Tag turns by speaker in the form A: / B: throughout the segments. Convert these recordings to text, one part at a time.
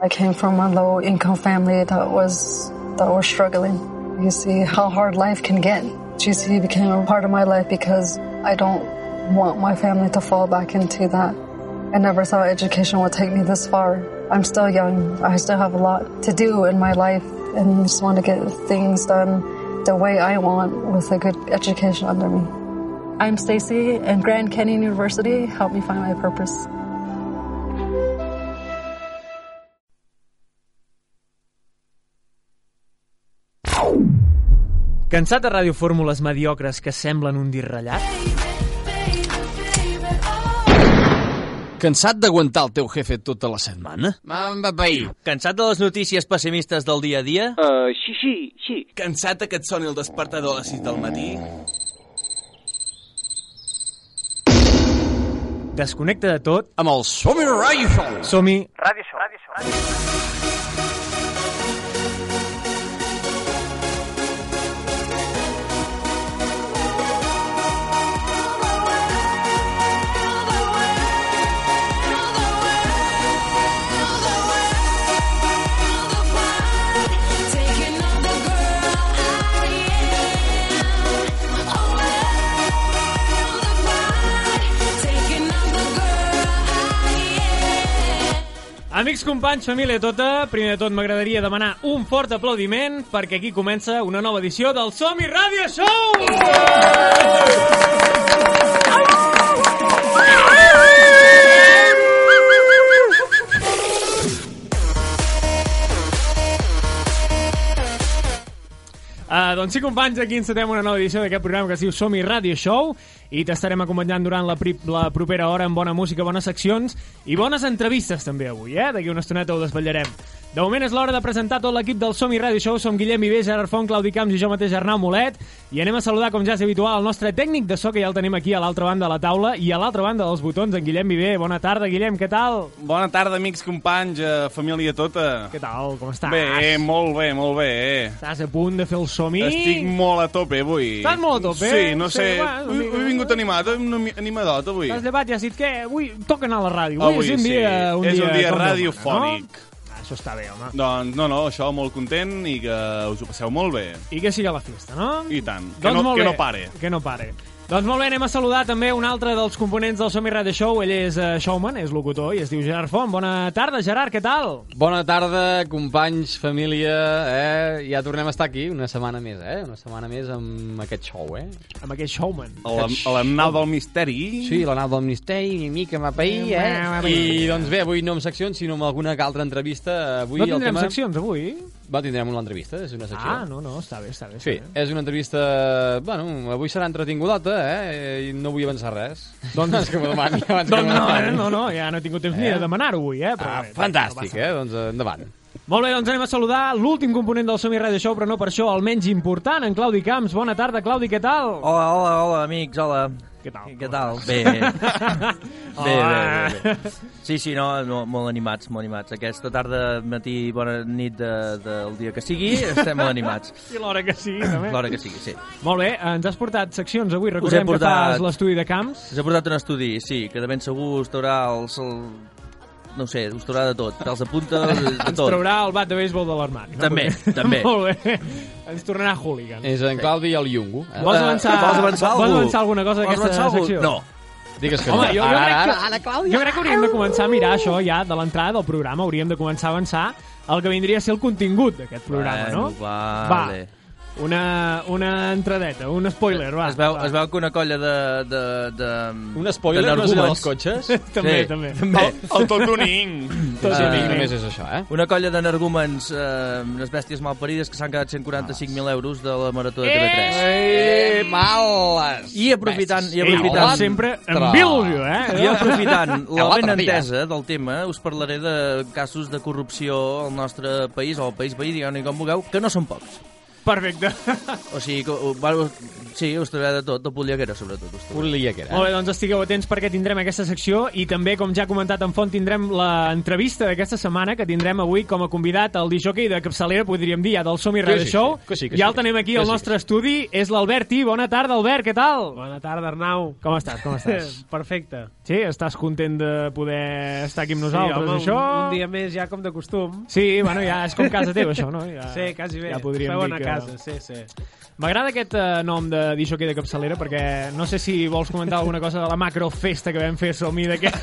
A: I came from a low income family that was that was struggling. You see how hard life can get. GC became a part of my life because I don't want my family to fall back into that. I never thought education would take me this far. I'm still young. I still have a lot to do in my life and just want to get things done the way I want with a good education under me. I'm Stacy and Grand Canyon University helped me find my purpose.
B: Cansat de radiofórmules mediocres que semblen un dir ratllat?
C: Cansat d'aguantar el teu jefe tota la setmana? Mamba paí.
B: Cansat de les notícies pessimistes del dia a dia?
D: Uh, sí, sí, sí.
E: Cansat de que et soni el despertador a les 6 del matí?
B: Desconnecta de tot
C: Amb el Somi Radio Show.
B: som-hi
D: Ràdio Show. Ràdio Show.
B: Amics, companys, família tota, primer de tot m'agradaria demanar un fort aplaudiment perquè aquí comença una nova edició del Somi Radio Show! Uh, doncs sí, companys, aquí encetem una nova edició d'aquest programa que es diu Somi Radio Show i t'estarem acompanyant durant la, pri la propera hora amb bona música, bones seccions i bones entrevistes també avui, eh? D'aquí una estoneta ho desvetllarem. De moment és l'hora de presentar tot l'equip del Somi Radio Show. Som Guillem Viver, Gerard Font, Claudi Camps i jo mateix Arnau Molet i anem a saludar, com ja és habitual, el nostre tècnic de so que ja el tenim aquí a l'altra banda de la taula i a l'altra banda dels botons, en Guillem Viver. Bona tarda, Guillem, què tal?
F: Bona tarda, amics, companys, eh, família tota.
B: Què tal? Com estàs?
F: Bé, eh, molt bé, molt bé. Eh.
B: Estàs a punt de fer el Somi?
F: Estic molt a tope avui.
B: Estàs molt a tope, eh?
F: Sí, no
B: Sí,
F: sé.
B: va, una
F: Avui
B: mica-
F: avui he vingut animat, una mi- animadot avui.
B: T'has llevat i has dit que avui toca anar a la ràdio. Avui,
F: Avui
B: és un
F: sí.
B: dia, un
F: És
B: dia
F: un dia
B: com Déu
F: radiofònic.
B: mana, No? Ah, Això està bé, home.
F: Doncs no, no, això, molt content i que us ho passeu molt bé.
B: I que siga la festa, no?
F: I tant. Que
B: Doncs
F: no-
B: molt
F: que
B: bé.
F: no pare.
B: Que no pare. Doncs molt bé, anem a saludar també un altre dels components del Somi Radio Show. Ell és uh, showman, és locutor i es diu Gerard Font. Bona tarda, Gerard, què tal?
G: Bona tarda, companys, família, eh? Ja tornem a estar aquí una setmana més, eh? Una setmana més amb aquest show, eh?
B: Amb aquest showman.
F: A la, a la nau del misteri.
G: Sí, la nau del Ministeri, una mica mapaí, eh? I, doncs bé, avui no amb seccions, sinó amb alguna altra entrevista. Avui
B: no tindrem
G: el tema...
B: seccions avui?
G: Va, tindrem una entrevista, és una secció.
B: Ah, no, no, està bé, està bé.
G: Sí,
B: Està bé.
G: és una entrevista... Bueno, avui serà entretingudota, eh? I no vull avançar res. Doncs que m'ho demani. abans que
B: Doncs
G: m'ho
B: no, eh?
G: demani.
B: no, no, ja no he tingut temps eh? ni de demanar-ho avui, eh? Però
G: Ah,
B: bé,
G: fantàstic, eh? Doncs eh, endavant.
B: Molt bé, doncs anem a saludar l'últim component del Somi Radio Show, però no per això, el menys important, en Claudi Camps. Bona tarda, Claudi, què tal?
H: Hola, hola, hola, amics, hola.
B: Què tal?
H: Què tal? Bé, bé, bé,
B: Hola.
H: bé, bé. Sí, sí, no, no, molt animats, molt animats. Aquesta tarda, matí, bona nit de, del dia que sigui, estem molt animats.
B: I l'hora que sigui, també.
H: L'hora que sigui, sí.
B: Molt bé, ens has portat seccions avui. Recordem portat...
H: portat-
B: que fas l'estudi de Camps.
H: Us he portat un estudi, sí, que de ben segur us traurà els... El... No ho sé, us traurà de tot. Te'ls apunta de
B: Ens
H: tot.
B: traurà el bat de béisbol de l'armari.
H: També, també.
B: Molt bé. Ens tornarà hooligan.
G: És en Claudi i el Iungo. Eh?
B: Vols avançar,
H: Eh, vols avançar
B: vols
H: algú?
B: avançar alguna cosa
H: Vols
B: d'aquesta
H: avançar algú?
B: secció?
H: No.
G: Digues que
B: Home,
G: no.
B: jo, jo,
G: Ara,
B: crec
G: ara,
B: que,
G: ara,
B: jo crec que hauríem de començar a mirar això ja de l'entrada del programa. Hauríem de començar a avançar el que vindria a ser el contingut d'aquest programa,
H: Bueno,
B: no?
H: vale.
B: Va. Una, una entradeta, un spoiler, va.
H: Es veu,
B: Ah, va.
H: es veu que una colla de... de, de
G: Un spoiler no és allò dels
H: d'energúmens-
G: cotxes?
B: també,
H: Sí.
B: també.
H: També.
F: El tot uning.
B: Tot i
H: Ah,
G: Sí,
B: així.
G: només és això, eh?
H: Una colla d'energúmens, eh, unes bèsties malparides que s'han quedat 145.000 euros de la marató de TV3.
G: Eh, males!
H: I aprofitant, i
B: Ei,
H: aprofitant,
B: com sempre en
G: Ostres.
B: Bilbio, eh?
H: i aprofitant la
G: l'altre
H: ben
G: dia.
H: entesa del tema, us parlaré de casos de corrupció al nostre país, o al país veí, digueu-ne com vulgueu, que no són pocs.
B: Perfecte.
H: O sigui, que, ho- bueno, sí, us trobarà de tot, de polieguera, sobretot. Us trobarà.
G: Fulia que era.
B: Molt bé, doncs estigueu atents perquè tindrem aquesta secció i també, com ja ha comentat en Font, tindrem l'entrevista d'aquesta setmana que tindrem avui com a convidat al disjockey de capçalera, podríem dir, ja del Som i
G: Que
B: Radio
G: sí,
B: Show.
G: que sí, que sí,
B: ja
G: que
B: el tenim
G: sí,
B: aquí
G: que
B: al
G: sí,
B: nostre estudi, és l'Alberti. Bona tarda, Albert, què tal?
I: Bona tarda, Arnau.
B: Com estàs, com estàs?
I: Perfecte.
B: Sí, estàs content de poder estar aquí amb nosaltres,
I: home,
B: això?
I: Un, un dia més ja com de costum.
B: Sí, bueno, ja és com casa teva, això, no? Ja,
I: Sí, quasi bé.
B: Ja podríem
I: Feu
B: dir
I: a
B: que...
I: casa, sí, sí.
B: M'agrada aquest eh, nom de disjockey de capçalera perquè no sé si vols comentar alguna cosa de la macrofesta que vam fer a Somi d'aquest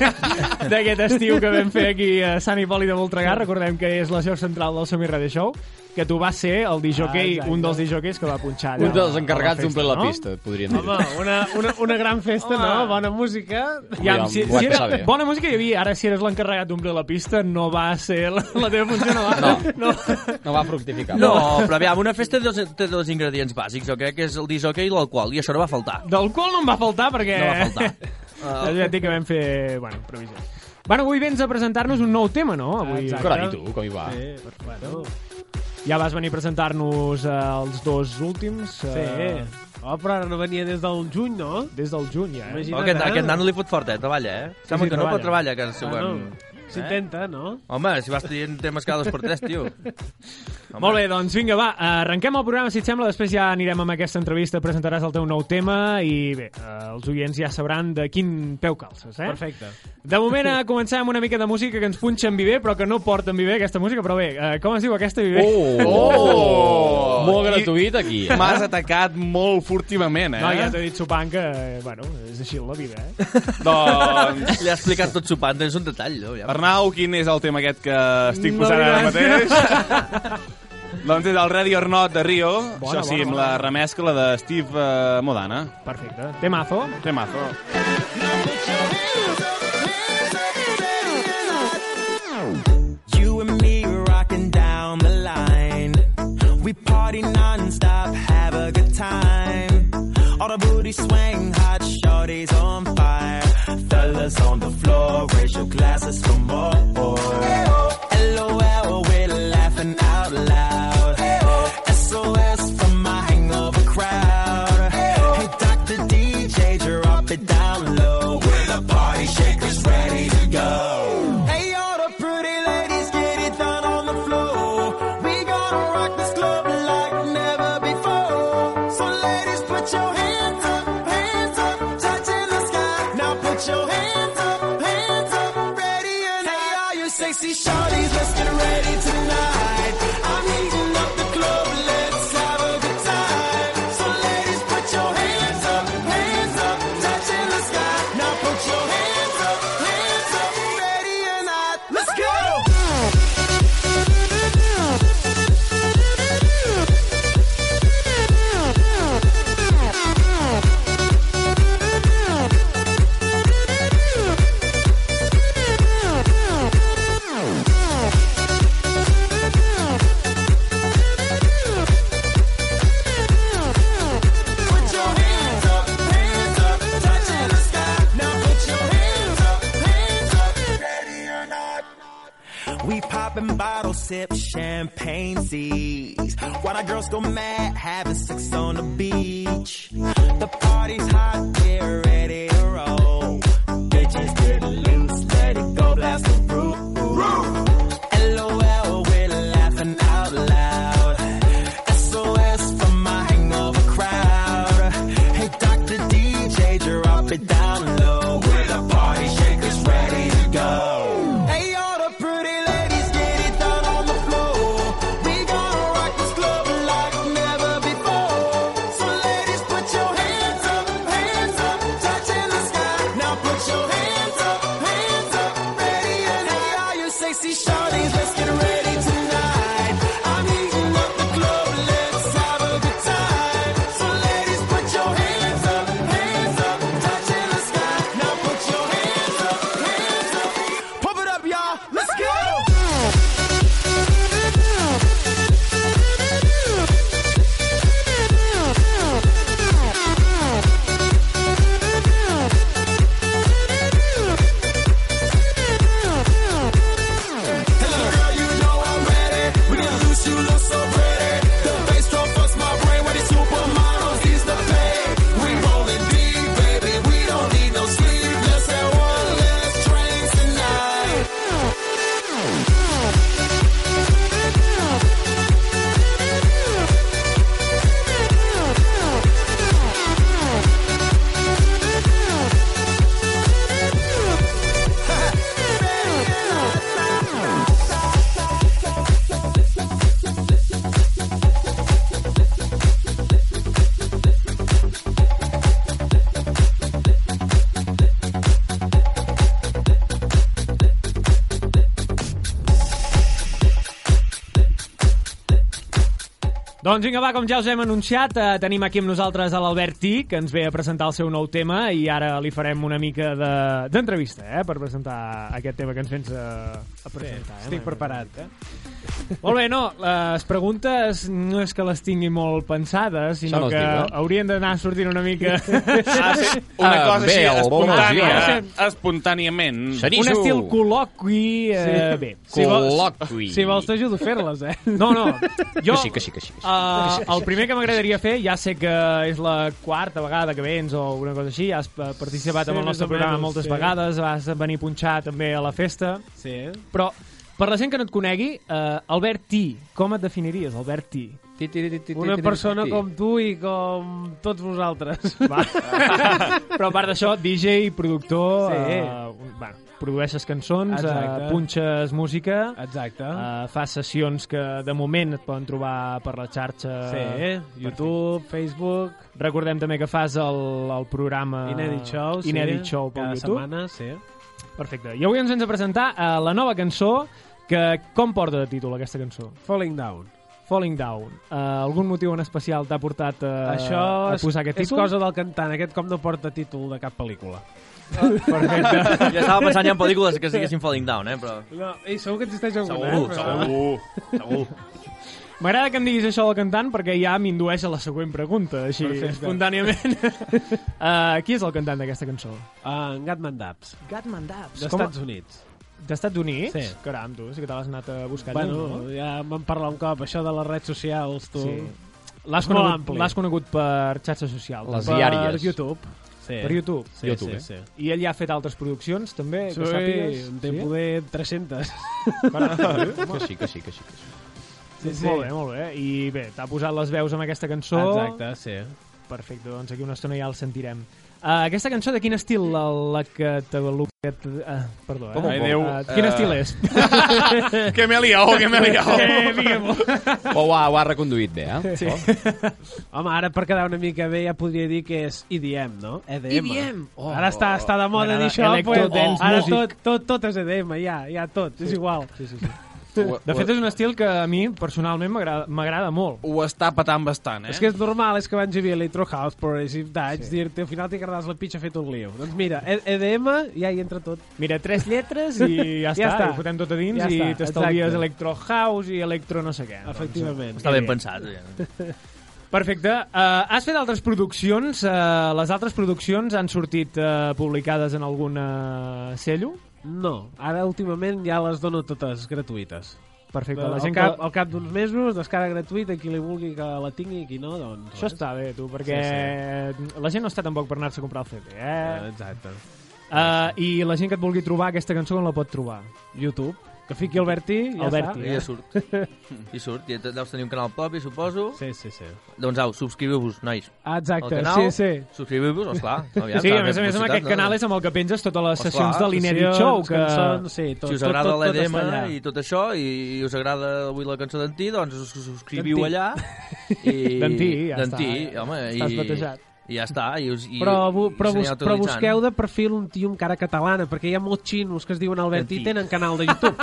B: d'aquest estiu que vam fer aquí a Sant Hipòlit de Voltregà. Recordem que és la seu central del Somi Radio Show, que tu vas ser el disjockey,
I: Ah,
B: ah,
I: exacte.
B: un dels disjockeys que va punxar allà
G: eh? Un
B: a
G: dels
B: la- a
G: encarregats
B: la festa,
G: d'omplir la
B: no?
G: pista, podríem dir.
I: Home, una, una, una gran festa,
B: Home.
I: no? Bona música.
B: I amb, si,
G: Ho vaig
B: si
G: passar
B: era
G: bé.
B: bona música hi havia, ara si eres l'encarregat d'omplir la pista no va ser la, la teva funció, no va. No. no.
G: No va fructificar.
H: No, però aviam, una festa té dos, té dos ingredients bàsics, jo crec que és el dishockey i l'alcohol, i això no va faltar.
B: Del qual no em va faltar perquè...
H: No va faltar.
B: Ah, ja et dic que vam fer, bueno, previsió. Bueno, avui vens a presentar-nos un nou tema, no? Avui
I: Exacte.
G: Carai, tu, com hi va?
I: Sí, però, bueno,
B: ja vas venir a presentar-nos eh, els dos últims.
I: sí.
B: eh,
I: Oh, però ara no venia des del juny, no?
B: Des del juny, ja. Eh?
I: Imagina't,
H: Oh, aquest,
I: eh?
H: aquest nano li fot forta, eh? Treballa, eh?
B: Sí,
H: Sembla
B: sí,
H: que no, però
B: treballa.
H: treballa, que ens
I: Bueno, Ah, S'intenta, no?
H: Home, si vas dient temes cada dos per tres, tio. Home.
B: Molt bé, doncs vinga, va, arrenquem el programa, si et sembla, després ja anirem amb aquesta entrevista, presentaràs el teu nou tema i bé, eh, els oients ja sabran de quin peu calces, eh?
I: Perfecte.
B: De moment eh, comencem amb una mica de música que ens punxa en Viver, però que no porta en Viver aquesta música, però bé, eh, com es diu aquesta Viver?
G: Oh!
F: Oh!
G: Molt gratuït, aquí. eh?
F: M'has atacat molt furtivament, eh?
B: No, ja t'he dit sopant que, eh, bueno, és així la vida, eh?
F: Doncs...
H: Li ha explicat tot sopant, és un detall, no? Ja.
F: Arnau, quin és el tema aquest que estic
B: No
F: posant ara
B: diràs.
F: mateix? doncs és el Radio or Not de Rio,
B: Bona,
F: això sí,
B: bona,
F: amb
B: bona.
F: la remescla de Steve eh, Modana.
B: Perfecte. Temazo.
F: Temazo.
J: You and me rocking down the line. We party non-stop, have a good time. All the booty swing, hot shorties on fire. Fellas on the floor, raise your glasses for more. LOL, we're laughing out loud. SOS from my hangover crowd. Hey, Dr. DJ, drop it down low. We're the party shakers, ready to go. Hey, all the pretty ladies, get it down on the floor. We gonna rock this club like never before. So, ladies, put your hands up, hands up, touching the sky. Now, put your hands up, hands up, ready and hey, all you sexy shorties, let's get ready tonight. I'm heating up the club, let's have a good time. So, ladies, put your hands up, hands up, touching the sky. Now, put your hands up, hands up, ready and hot. Let's go! Put your hands up, hands up, touching the sky. Now put your hands up, hands up, ready or not. We poppin' bottles, sip champagne seas. While the girls go mad, having sex on the beach. The party's hot, get ready to roll. Bitches get loose, let it go, blast the roof. LOL, we're laughing out loud. SOS from my hangover crowd. Hey, Dr. DJ, drop it down low. We're the party shakers, ready to go. Hey, all the pretty ladies, get it down on the floor. We gonna rock this club like never before. So, ladies, put your hands up, hands up, touching the sky. Now, put your hands up, hands
B: Doncs vinga, va, com ja us hem anunciat, eh, tenim aquí amb nosaltres a l'Albert Tí, que ens ve a presentar el seu nou tema i ara li farem una mica de- d'entrevista, de, eh?, per presentar aquest tema que ens vens a, a presentar. eh,
I: Estic preparat, eh?
B: Molt bé, no, les preguntes no és que les tingui molt pensades,
G: Això
B: sinó
G: no es
B: que
G: diu, eh?
B: haurien d'anar sortint una mica...
F: Ah, sí, una
G: Ah,
F: cosa així,
G: bé, el bon
F: espontània,
B: dia.
F: espontàniament.
B: Un estil col·loqui... Eh,
I: Sí.
B: Bé,
I: Si vols-
G: Col·loqui.
I: Si vols t'ajudo a fer-les, eh?
B: No, no. Jo,
G: Que sí, que sí, que sí. Que sí.
B: Uh, el primer que m'agradaria fer, ja sé que és la quarta vegada que vens o alguna cosa així, has eh, participat sí,
I: Sí,
B: en el nostre
I: més o
B: programa
I: menys,
B: moltes
I: sí.
B: vegades, vas venir a punxar també a la festa,
I: Sí, eh?
B: però per la gent que no et conegui, uh, Albert T, com et definiries, Albert T?
G: Ti, ti, ti, ti, ti,
I: Una
G: ti, ti,
I: persona
G: ti.
I: com tu i com tots vosaltres.
B: Va. però a part d'això, DJ, productor,
I: Sí.
B: uh, bueno, produeixes cançons, uh,
I: Exacte.
B: punxes música,
I: Exacte.
B: uh, fas sessions que de moment et poden trobar per la xarxa
I: Sí, eh? YouTube, Facebook,
B: Recordem també que fas el, el programa...
I: Inedit Show, sí.
B: Ah, Inedit Show per
I: Cada
B: YouTube.
I: setmana, sí.
B: Perfecte. I avui ens ens a presentar eh, la nova cançó que com porta de títol aquesta cançó?
I: Falling Down.
B: Falling Down. Uh, algun motiu en especial t'ha portat uh,
I: Això
B: a
I: és,
B: posar aquest
I: és
B: títol?
I: cosa del cantant. Aquest com no porta títol de cap pel·lícula.
B: Perfecte.
H: Ja estava pensant ja en pel·lícules que es diguessin Falling Down, eh? Però...
I: No, i segur que existeix alguna,
F: Segur,
I: eh? Però-
F: segur, segur.
B: M'agrada que em diguis això del cantant perquè ja m'indueix a la següent pregunta, així,
I: Perfecte.
B: espontàniament. uh, qui és el cantant d'aquesta cançó?
I: Ah, En Gatman Dabs,
B: Gatman Dabs.
I: d'Estats Units.
B: D'Estats Units?
I: Sí.
B: Caram, tu, sí que te l'has anat a buscar. lluny, no?
I: Bueno, ja en vam parlar un cop, això de les redes socials, tu.
B: Sí. L'has
I: Molt
B: conegut,
I: ampli.
B: l'has conegut per xarxes socials.
G: Les
B: per...
G: diàries. Diàries.
I: Per YouTube. Sí.
B: Per YouTube.
I: Sí,
G: YouTube, eh?
I: sí, sí.
B: I ell ja ha fet altres produccions, també,
I: Sí,
B: que sàpigues.
I: en té poder 300.
G: Que sí, que sí, que sí. Que sí.
I: Sí, sí.
B: Molt bé, molt bé. I bé, t'ha posat les veus amb aquesta cançó.
I: Exacte, sí.
B: Perfecte, doncs aquí una estona ja el sentirem. Uh, aquesta cançó de quin estil la, la que te... la que te- ah, perdó, eh?
F: Com, Ai, com? Déu,
B: Ah, quin
F: eh,
B: estil és?
F: Que me liao, que me liao.
B: Eh, digue-m'ho.
G: Ho, ha, ho ha reconduït bé, eh?
B: Sí.
I: Home, ara per quedar una mica bé ja podria dir que és EDM, no? EDM. EDM. Oh, ara està, està de moda dir això,
B: Electro
I: pues,
B: dance
I: ara
B: music.
I: tot, tot, tot és EDM, ja, ja tot, és igual.
B: Sí, sí, sí.
C: Ho,
B: De fet, és un estil que a mi, personalment, m'agrada- m'agrada molt.
E: Ho està patant bastant, eh?
I: És que és normal, és que abans hi havia Electro House, Progressive Dance, sí. dir-te al final t'hi quedaràs la pitxa fet un lío. Doncs mira, E- EDM ja hi entra tot.
B: Mira, tres lletres i ja,
I: Ja
B: està,
I: està.
B: i ho fotem tot a dins
I: Ja
B: i
I: està,
B: t'estalvies
I: exacte.
B: electro house i electro no sé què. Doncs,
I: Efectivament.
H: Està ben pensat. Ja.
B: Perfecte. Uh, has fet altres produccions. Uh, les altres produccions han sortit uh, publicades en algun uh, cello.
I: No, ara últimament ja les dono totes gratuïtes.
B: Perfecte.
I: Al
B: La gent
I: Eh, cap,
B: que...
I: al cap d'uns mesos, descarga gratuïta, qui li vulgui que la tingui i qui no, doncs...
B: Això està bé, tu, perquè la gent no està tampoc per anar-se a comprar el CD,
I: Eh,
B: eh?
I: Exacte.
B: Uh, I la gent que et vulgui trobar aquesta cançó on la pot trobar?
I: YouTube, que fiqui Alberti, ja
B: Alberti.
H: I ja surt. I surt. I deus tenir un canal propi, suposo.
I: està. Sí, sí, sí.
H: Doncs au, subscriviu-vos, nois.
I: Ah, Exacte,
H: Al canal,
I: sí, sí.
H: subscriviu-vos, esclar. Aviam,
B: Sí, a més a més, amb aquest canal és amb el que penges totes les
H: Ostres,
B: sessions de l'Inedit
I: Sessions,
B: Show, que...
I: Cançons, sí, tot,
H: si us
I: tot,
H: agrada
I: tot, tot
H: l'EDM
I: està allà.
H: i tot això i, i us agrada avui la cançó d'en Ti, doncs us us subscriviu
I: D'en Ti.
H: allà. I...
B: D'en Ti, ja
H: D'en
B: està,
H: Ti,
B: ja
H: home,
B: estàs
H: i,
B: batejat.
H: i ja està. I us, i,
I: eh? Però, bu,
H: i
I: però,
H: us
I: bus,
H: aneu
I: però
H: actualitzant.
I: busqueu de perfil un tio amb cara catalana, perquè hi ha molts xinos que es diuen Albert i
H: Antic.
I: tenen canal de YouTube.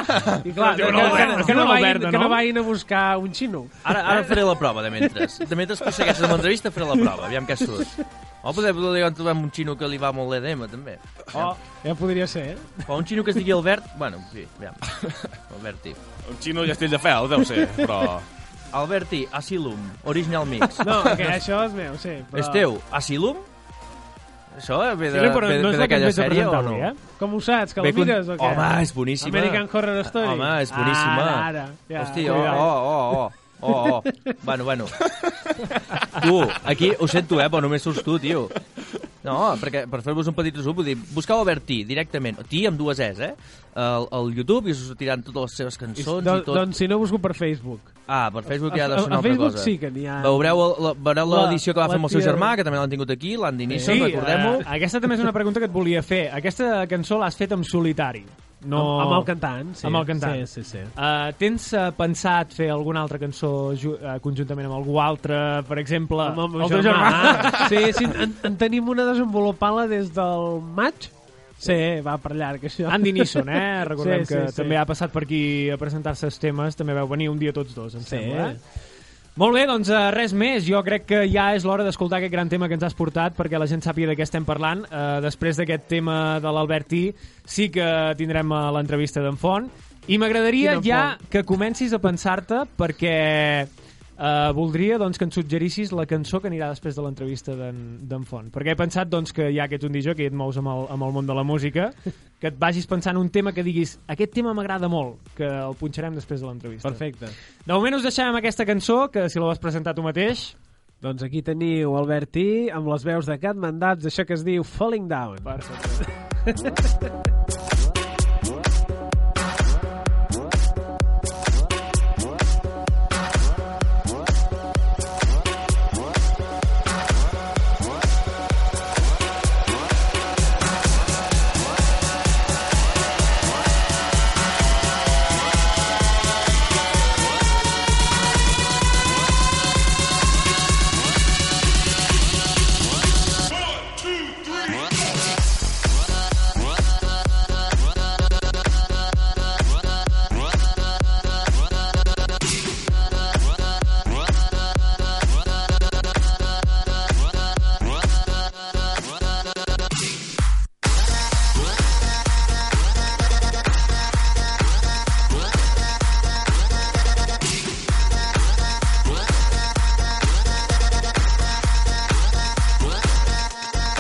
I: I clar, que,
B: Diuen
I: que,
B: Albert,
I: que,
B: diuen
I: no
B: Albert,
I: vagin,
B: no?
I: que no vagin a buscar un xino.
H: Ara, ara faré la prova, de mentre. De mentre que segueixes amb l'entrevista, faré la prova. Aviam què surt. O poder, poder trobar un xino que li va molt l'EDM, també.
I: Oh, ja podria ser, eh?
H: O un xino que es digui Albert... Bueno, sí, aviam. Alberti.
F: Un xino Castelldefels, deu ser, però...
H: Alberti, Asylum, Original Mix.
I: No, que això és meu, sí. Però...
H: És teu, Asylum? Això ve de-
B: Sí, però
H: ve-
B: no és la que
H: ve
B: em
H: d'aquella
B: vens a
H: sèrie o
B: presentar
H: no?
B: avui, eh?
I: Com ho saps? Que la
H: Ve con-
I: mires o què?
H: Home, és boníssima.
I: American Horror Story.
H: Home, és boníssima.
I: Ara, ara. Ja.
H: Hosti, oh, oh, oh, oh, oh, oh. Bueno, bueno. tu, aquí, ho sento, eh, però només surts tu, tio. No, perquè per fer-vos un petit resum, vull dir, buscau Albert Tí directament, Tí amb dues Es, eh? Al, al YouTube i us sortiran totes les seves cançons i,
I: Doncs,
H: tot.
I: doncs si no busco per Facebook.
H: Ah, per Facebook ja ha de
I: A- a-
H: ser una
I: a
H: altra
I: Facebook
H: cosa.
I: sí que n'hi ha.
H: Veureu el- la- veureu
I: La-
H: l'edició que va fer
I: la
H: amb el seu
I: tia-
H: germà, que també l'han tingut aquí, l'Andy Nissan,
B: Sí,
H: recordem-ho.
G: Ah,
B: eh, aquesta també és una pregunta que et volia fer. Aquesta cançó l'has fet en solitari. No...
I: Amb, amb el cantant, sí.
B: Amb el cantant.
I: Sí, sí, sí.
B: Uh, tens uh, pensat fer alguna altra cançó ju uh, conjuntament amb algú altre, per exemple,
I: Amb el
B: Ah,
I: meu
B: el teu
I: germà. Sí, sí, en, en tenim una desenvolupada des del maig. Sí, va per llarg, això.
B: Andy Nisson, eh? Recordem
I: Sí, sí,
B: que
I: sí.
B: també ha passat per aquí a presentar-se els temes, també vau venir un dia tots dos, em
I: Sí.
B: sembla. Eh? Molt bé, doncs eh, res més. Jo crec que ja és l'hora d'escoltar aquest gran tema que ens has portat perquè la gent sàpiga de què estem parlant. Eh, després d'aquest tema de l'Albertí sí que tindrem eh, l'entrevista d'en Font. I m'agradaria
I: Quina
B: ja que comencis a pensar-te perquè eh, voldria doncs, que ens suggerissis la cançó que anirà després de l'entrevista d'en d'en Font. Perquè he pensat doncs, que ja que ets un dijó, que et mous amb el, amb el món de la música, que et vagis pensant un tema que diguis aquest tema m'agrada molt, que el punxarem després de l'entrevista.
I: Perfecte.
B: De moment us deixem amb aquesta cançó, que si la vas presentar tu mateix...
I: Doncs aquí teniu Albertí amb les veus de Cat Mandats, això que es diu Falling Down. Perfecte.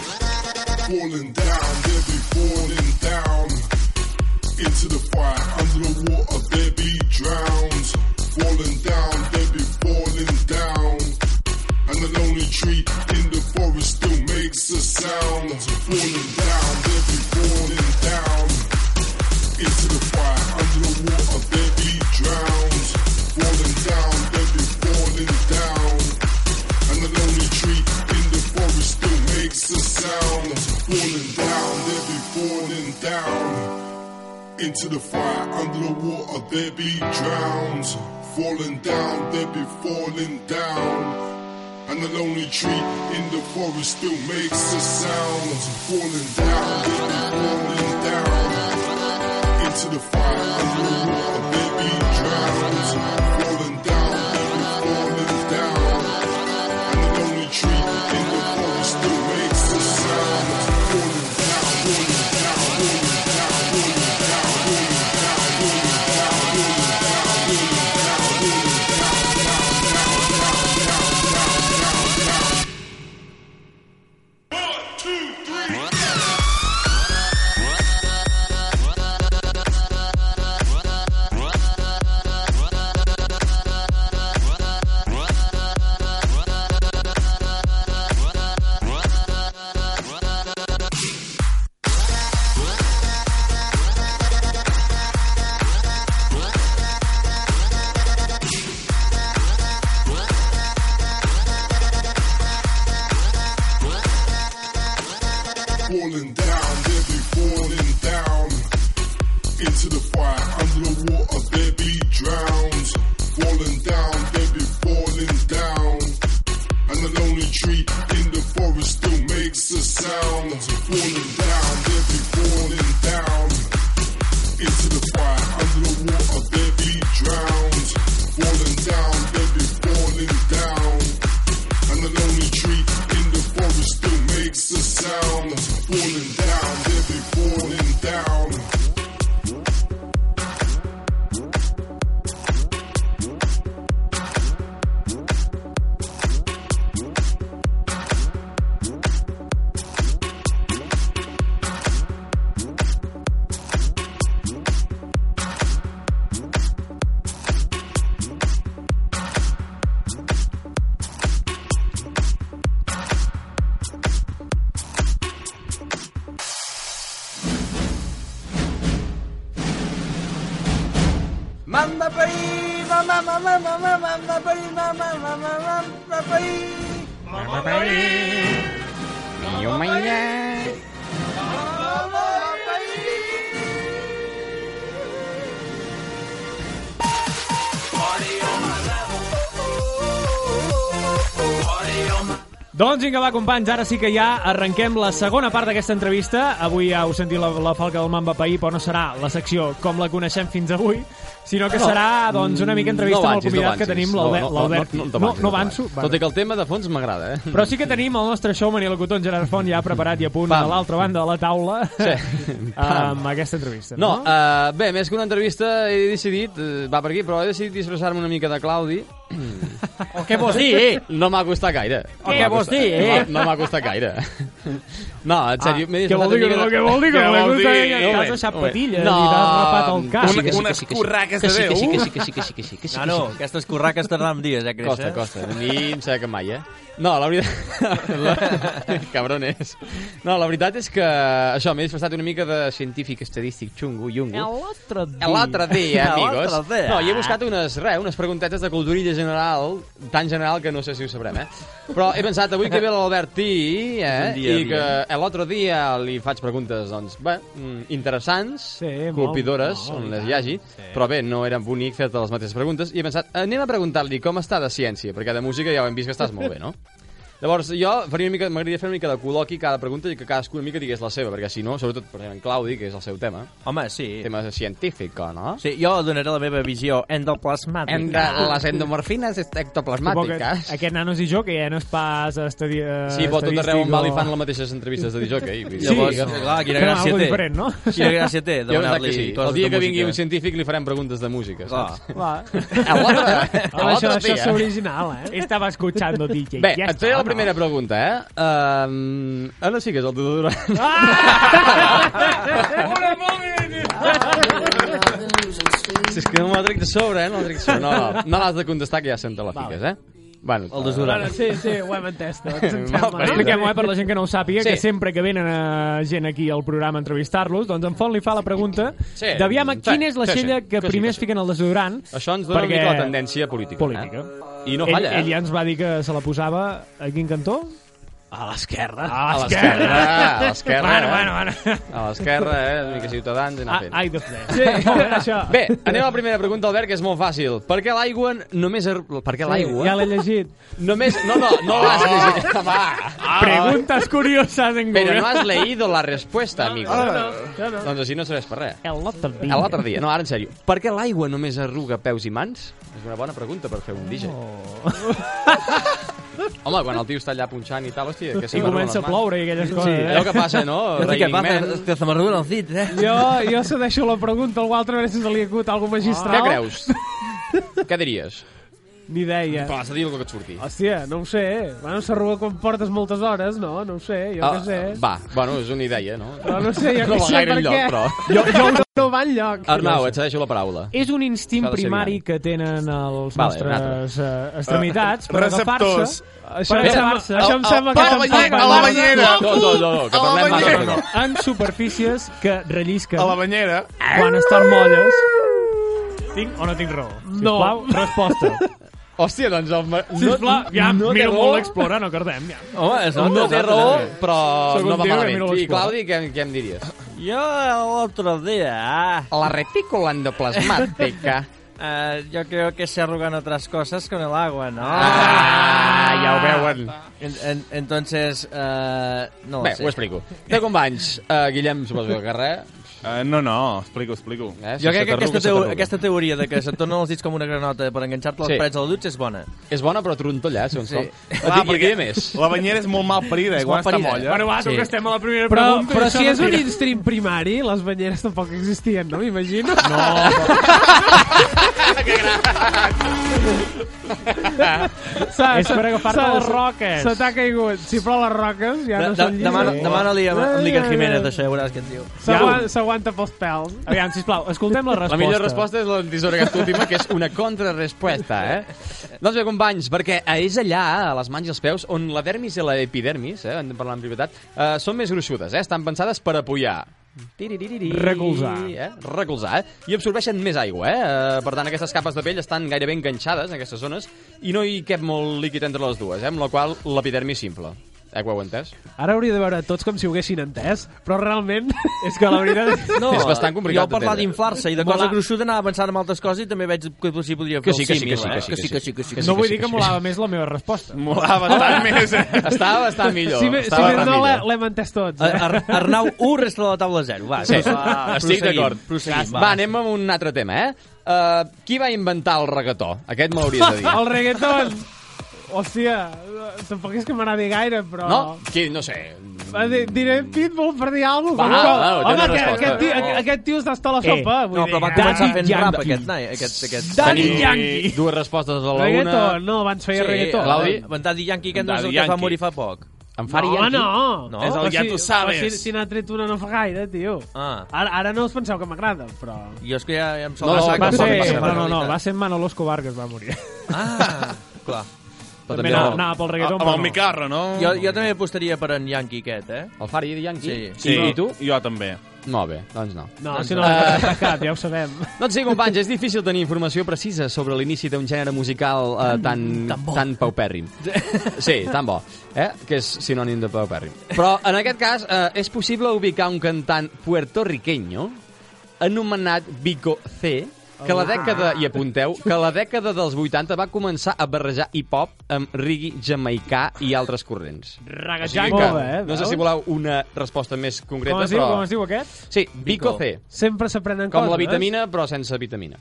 J: falling down, they be falling down into the fire, under the water, they be drowned. Falling down, they be falling down, and the lonely tree in the forest still makes a sound. Falling down, they be falling down into the fire, under the water, they be drowned. Falling down, they be falling down, and the lonely tree in the forest still makes a sound. Falling down, they be falling down. Into the fire, under the water, they be drowned. Falling down, they be falling down. And the lonely tree in the forest still makes a sound. Falling down, they be falling down. Into the fire, under the water, they be drowned. Falling down, they be falling down. And the lonely tree in the forest still makes a sound. Falling down, falling down, falling down, falling down, falling down, falling down, falling down, falling down, falling down, down, down, down, down, down, down, down. One, two, three. falling down, they be falling down into the fire, under the water, they be drowned. Falling down, they be falling down, and the lonely tree in the forest still makes a sound. Falling down, they be falling down into the fire, under the water, they be drowned. Falling down, they be falling down. And the lonely tree in the forest still makes a sound. Falling down, they be falling down.
K: Mamma parí, mamma, mamma, mamma, mamma parí, mamma, mamma, mamma parí. Mamma parí. Mamma parí.
B: Doncs vinga, va, companys, ara sí que ja arrenquem la segona part d'aquesta entrevista. Avui ja heu sentit la, la falca del Mamba Paí, però no serà la secció com la coneixem fins avui, sinó que serà doncs, una mica entrevista
G: no
B: amb el
G: avancis, no
B: convidat que
G: avancis.
B: tenim, l'Albert.
G: No, no, no,
B: l'Albert.
G: no, no, t'avancis,
B: no
G: no
B: avanço.
G: t'avancis. Tot i que el tema de fons m'agrada, eh?
B: Però sí que tenim el nostre showman i locutor en Gerard Font ja preparat i a punt a l'altra banda de la taula sí. amb aquesta entrevista. no?
G: No, uh, bé, més que una entrevista he decidit, uh, va per aquí, però he decidit disfressar-me una mica de Claudi.
B: O què vols dir, eh?
G: No m'ha costat gaire.
B: O què vols dir, eh?
G: No, no m'ha costat gaire. No, en sèrio, m'he
B: què
G: disfressat
B: vol dir,
G: una mica
B: no,
G: de-
B: què vol dir, que no l'he costat gaire, que has deixat
G: un moment.
B: patilles
G: no,
B: i t'has rapat el cap.
G: Una, una
E: escorraques de Déu.
H: No, no, aquestes corraques tardaven dies, eh, Cris?
G: Costa,
H: eh?
G: costa. A mi em sembla que mai, eh? No, la veritat... La... Cabrones. No, la veritat és que, això, m'he disfressat una mica de científic estadístic xungo,
H: A
G: yungo.
H: L'altre dia.
G: L'altre dia,
H: A
G: amigos.
H: l'altre dia.
G: No, hi he buscat unes, re, unes preguntetes de culturilla general, tan general que no sé si ho sabrem, eh? Però he pensat, avui que ve l'Albertí, eh?
H: Un dia,
G: I que l'altre dia li faig preguntes, doncs, bé, mm, interessants,
B: molt,
G: colpidores, on les hi hagi, però bé, no era bonic fer-te les mateixes preguntes, i he pensat, anem a preguntar-li com està de ciència, perquè de música ja ho hem vist que estàs molt bé, no? Llavors, jo faria una mica, m'agradaria fer una mica de col·loqui cada pregunta i que cadascú una mica digués la seva, perquè si no, sobretot, per exemple, en Claudi, que és el seu tema,
H: Home, sí.
G: tema científic, no?
H: Sí, jo donaré la meva visió endoplasmàtica.
G: Hem de, les endomorfines ectoplasmàtiques.
B: Suposo que Aquest nano i jo, que ja no és pas estadi...
G: Sí, però tot arreu on va li fan les mateixes entrevistes de dijòquei.
B: Sí.
H: Llavors,
B: Sí.
H: clar, quina
B: Fem
H: gràcia
B: algo
H: té.
B: diferent, no?
H: Quina gràcia té
G: Jo crec que
H: demanar-li
G: sí.
H: coses
G: El dia
H: de
G: que vingui un
H: música.
G: científic li farem preguntes de música,
H: Ah.
G: saps?
B: Va.
G: A l'altre, a
B: Home, això, això
G: l'altre
B: és
G: dia.
B: original, eh? Estava escuchando, DJ.
G: Bé,
B: ja
G: et feia la primera pregunta, eh? Um, ara sí que és el deodorant.
B: Ah!
G: Si és que no me la trec de sobre, eh? No, la trec de sobre. no, no, no l'has de contestar, que ja sempre la fiques, eh? Bueno, eh,
H: El desodorant.
I: Sí, sí, ho hem entès tots.
G: Mal
I: em sembla, no?
G: parit.
B: Expliquem-ho eh, per la gent que no ho sàpiga,
G: Sí.
B: sí. que sempre que venen eh, gent aquí al programa a entrevistar-los, doncs en Font li fa la pregunta
G: Sí.
B: d'aviam a
G: Sí,
B: quina és la
G: sí, sí.
B: xella que
G: Que sí,
B: primer
G: que
B: es fiquen al desodorant.
G: Això ens dona
B: perquè-
G: una mica la tendència política.
B: Política.
G: Eh? I no
B: ell,
G: falla,
B: ell
G: eh?
B: ja ens va dir que se la posava a quin cantó?
G: A l'esquerra.
B: A
G: A l'esquerra.
B: Bueno,
G: eh?
B: bueno, bueno.
G: A l'esquerra, eh? Una mica ciutadans i anar
B: Ah,
G: fent.
B: Ai, de fred. Sí, això.
G: Bé, anem a la primera pregunta, Albert, que és molt fàcil. Per què l'aigua només... Er... Per què l'aigua?
I: Ja l'he llegit.
G: Només... No, no, no l'has llegit. Ah, Va.
B: Preguntes curioses en Google.
G: Però no has leído la resposta, amigo. Doncs així no serveix per res.
B: El lot del
G: A l'altre dia. No, ara en sèrio. Per què l'aigua només arruga peus i mans? És una bona pregunta per fer un DJ. Home, quan el tio està allà punxant i tal, hòstia, que se
B: I
G: m'arruguen
B: comença a
G: les mans.
B: ploure i aquelles coses. eh?
G: Allò que passa, no?
H: Sí, que
G: Raining
H: va,
G: Man.
H: te se m'arruga el dit, eh?
I: Jo, jo cedeixo la pregunta, algú altre a veure si se li acut alguna magistral.
G: Ah. Què creus? Què diries?
I: Ni idea.
G: Vas a dir el que et surti.
I: Hòstia, no ho sé. eh? Bueno, s'arruga quan portes moltes hores, no? No ho sé, jo què sé.
G: Ah, va, bueno, és una idea, no?
I: No, no sé, jo
G: No
I: què
G: va
I: sé
G: gaire
I: per
G: enlloc,
I: què.
G: però.
I: Jo, jo no va enlloc.
G: Arnau, et cedeixo la paraula.
B: És un instint
G: S'ha de ser
B: primari
G: binari.
B: que tenen els
G: Vale, un
B: nostres
I: eh,
B: uh, extremitats per
F: receptors.
B: agafar-se...
I: Això,
B: Per
I: em sembla,
B: agafar-se-
I: això em sembla que
F: a la
I: tampoc
F: banyera,
I: va
F: a la
I: agradar.
F: banyera.
G: No, no, no, no que
F: A la
G: parlem ara,
F: banyera.
G: però no.
B: en superfícies que rellisquen
F: A la banyera.
B: quan estan molles. Tinc o no tinc raó? No. Sisplau, resposta.
G: Hòstia, doncs... El... ma-
B: Sisplau, ja
G: no té
B: miro
G: raó.
B: molt l'explora, no cardem. Ja.
H: Home, es nota,
G: No
H: es
G: té
H: nota,
G: raó,
H: eh?
G: però
B: Segon
G: no va
B: tio,
G: malament.
B: miro les
G: I
B: coses.
G: Claudi, què, què em diries?
H: Jo l'altre dia... ah,
G: La retícula endoplasmàtica.
H: eh, yo creo que se arrugan otras cosas con el agua, ¿no?
G: Ah, ja ho veuen.
H: En- en- entonces, eh, no lo
G: Bé,
H: sé.
G: ho explico. Té companys, uh, Guillem, suposo que carrer.
F: Uh, no, no, explico, explico.
G: Eh?
H: Jo
G: Se
H: crec que
G: t'arruga,
H: aquesta,
G: se
H: teo
G: t'arruga.
H: aquesta teoria de que se't tornen els dits com una granota per enganxar-te a les
G: Sí.
H: sí. parets de la dutxa és bona.
G: És bona, però trontolla, eh, segons
H: Sí.
G: com. Et
F: Clar,
G: dic, i
F: perquè
G: què més?
F: La banyera és molt mal parida, eh,
H: És
F: quan
H: molt
F: està
H: parida.
F: molla.
B: Bueno, va, tu
H: Sí.
B: que estem a la primera
I: Però,
B: pregunta...
I: però
B: això
I: si
B: no
I: és un
B: tira.
I: instint primari, les banyeres tampoc existien, no? M'imagino. No.
B: És per agafar-te les roques.
I: Se t'ha caigut. Si però les roques ja
H: De,
I: no
H: de,
I: són
H: demana,
I: lliures. Eh.
H: demana-li a, a
I: Ai,
H: l'Iker
I: ai,
H: Jiménez,
I: ai.
H: això ja veuràs què et diu.
I: S'aguan- S'aguanta pels pèls.
B: Aviam, sisplau, escoltem la resposta.
G: La millor resposta és la desorgat última, que és una contrarresposta, eh? doncs bé, companys, perquè eh, és allà, a les mans i els peus, on la dermis i l'epidermis, eh, en parlar en prioritat, eh, són més gruixudes, eh? Estan pensades per apoyar. Tiriririri,
B: Recolzar.
G: Eh? Recolzar, eh? I absorbeixen més aigua, eh? Eh, Per tant, aquestes capes de pell estan gairebé enganxades en aquestes zones i no hi cap molt líquid entre les dues, eh? Amb la qual l'epidermi és simple. Eh, que ho heu entès?
I: Ara hauria de veure tots com si ho haguessin entès, però realment...
B: És que la veritat...
H: No, eh,
G: És bastant complicat
H: Jo al parlar
G: d'entendre.
H: d'inflar-se i de
B: Molar.
H: cosa gruixuda anava pensant en altres coses i també veig que sí podria fer
G: Que sí, que
H: el
G: sí, que
H: símil,
G: sí,
H: eh?
G: que sí, que sí.
H: que sí, que sí.
G: Que sí,
B: No vull dir
G: sí,
B: que
G: sí,
B: molava més la meva resposta.
F: Molava bastant més, eh?
G: Estava bastant millor.
I: si més, si
G: estava
I: més
G: bastant
I: no,
G: millor.
I: l'he- l'hem entès tots. Eh?
H: Ar- Ar- Arnau 1, resta de la taula 0. Va,
G: Sí, Ah,
H: va,
G: estic
H: proseguim,
G: d'acord.
H: Proseguim,
G: Va, anem amb un altre tema, eh? Uh, qui va inventar el reggaetó? Aquest m'hauries de dir.
I: El reggaeton... Hòstia, eh, tampoc és que m'agradi gaire, però...
G: No? Qui, no sé.
I: Va, di- Diré Pitbull per dir alguna
G: Va,
I: cosa.
G: va, té una
I: Home, que,
G: resposta.
I: aquest, tio,
G: Oh.
I: aquest tio està a la
B: Eh,
I: sopa. vull
H: No, però va
I: dir,
H: començar
I: eh,
H: fent
B: Yankee.
H: rap aquest, nai, aquest, aquest.
B: Daddy
G: Tenim
B: Yankee.
G: Dues respostes a la
I: Reggaeton,
G: una.
I: no, abans feia
G: Sí,
I: reggaeton.
G: Claudi.
H: Van Daddy Yankee, aquest no és
F: Daddy
H: el que fa
F: Yankee.
H: morir fa poc.
G: Em faria
I: Home,
G: aquí.
I: no.
H: No?
F: És el
I: Però
F: ja tu
I: però
F: sabes.
I: Si, si n'ha tret una no fa gaire, tio.
H: Ah.
I: Ara, ara no us penseu que m'agrada, però...
H: Jo és que ja, ja em
G: No,
H: sol la
G: no,
H: sang.
B: Va
G: no,
H: tampoc em
B: ser,
H: sembla
B: no, no, no,
H: realitat.
B: va ser en Manolo Escobar que es va morir.
H: Ah, clar.
G: Però
B: També
G: també no.
B: anava, anava pel reggaeton,
F: Ah, Amb
B: però
F: el
B: no.
F: Micarro, no?
H: Jo, jo també apostaria per en Yankee aquest, eh?
G: El Fari i Yankee?
H: Sí.
F: Sí,
G: I tu?
F: Jo també.
G: Molt bé, doncs no.
I: No, si no l'hem uh... cap, ja ho sabem.
G: Doncs sí, companys, és difícil tenir informació precisa sobre l'inici d'un gènere musical eh,
B: Mm,
G: tan, tan, tan paupèrrim. Sí, tan bo, eh? que és sinònim de paupèrrim. Però en aquest cas eh, és possible ubicar un cantant puertorriqueño anomenat Vico C, que la dècada, i apunteu, que la dècada dels 80 va començar a barrejar hip-hop amb reggae jamaicà i altres corrents.
B: Ragajang.
I: Molt bé,
G: no sé
I: veus?
G: si voleu una resposta més concreta,
B: Com es diu,
G: però...
B: com es diu aquest?
G: Sí, Vico C.
I: Sempre s'aprenen
G: Com
I: coses.
B: eh?
G: la vitamina, però sense vitamina.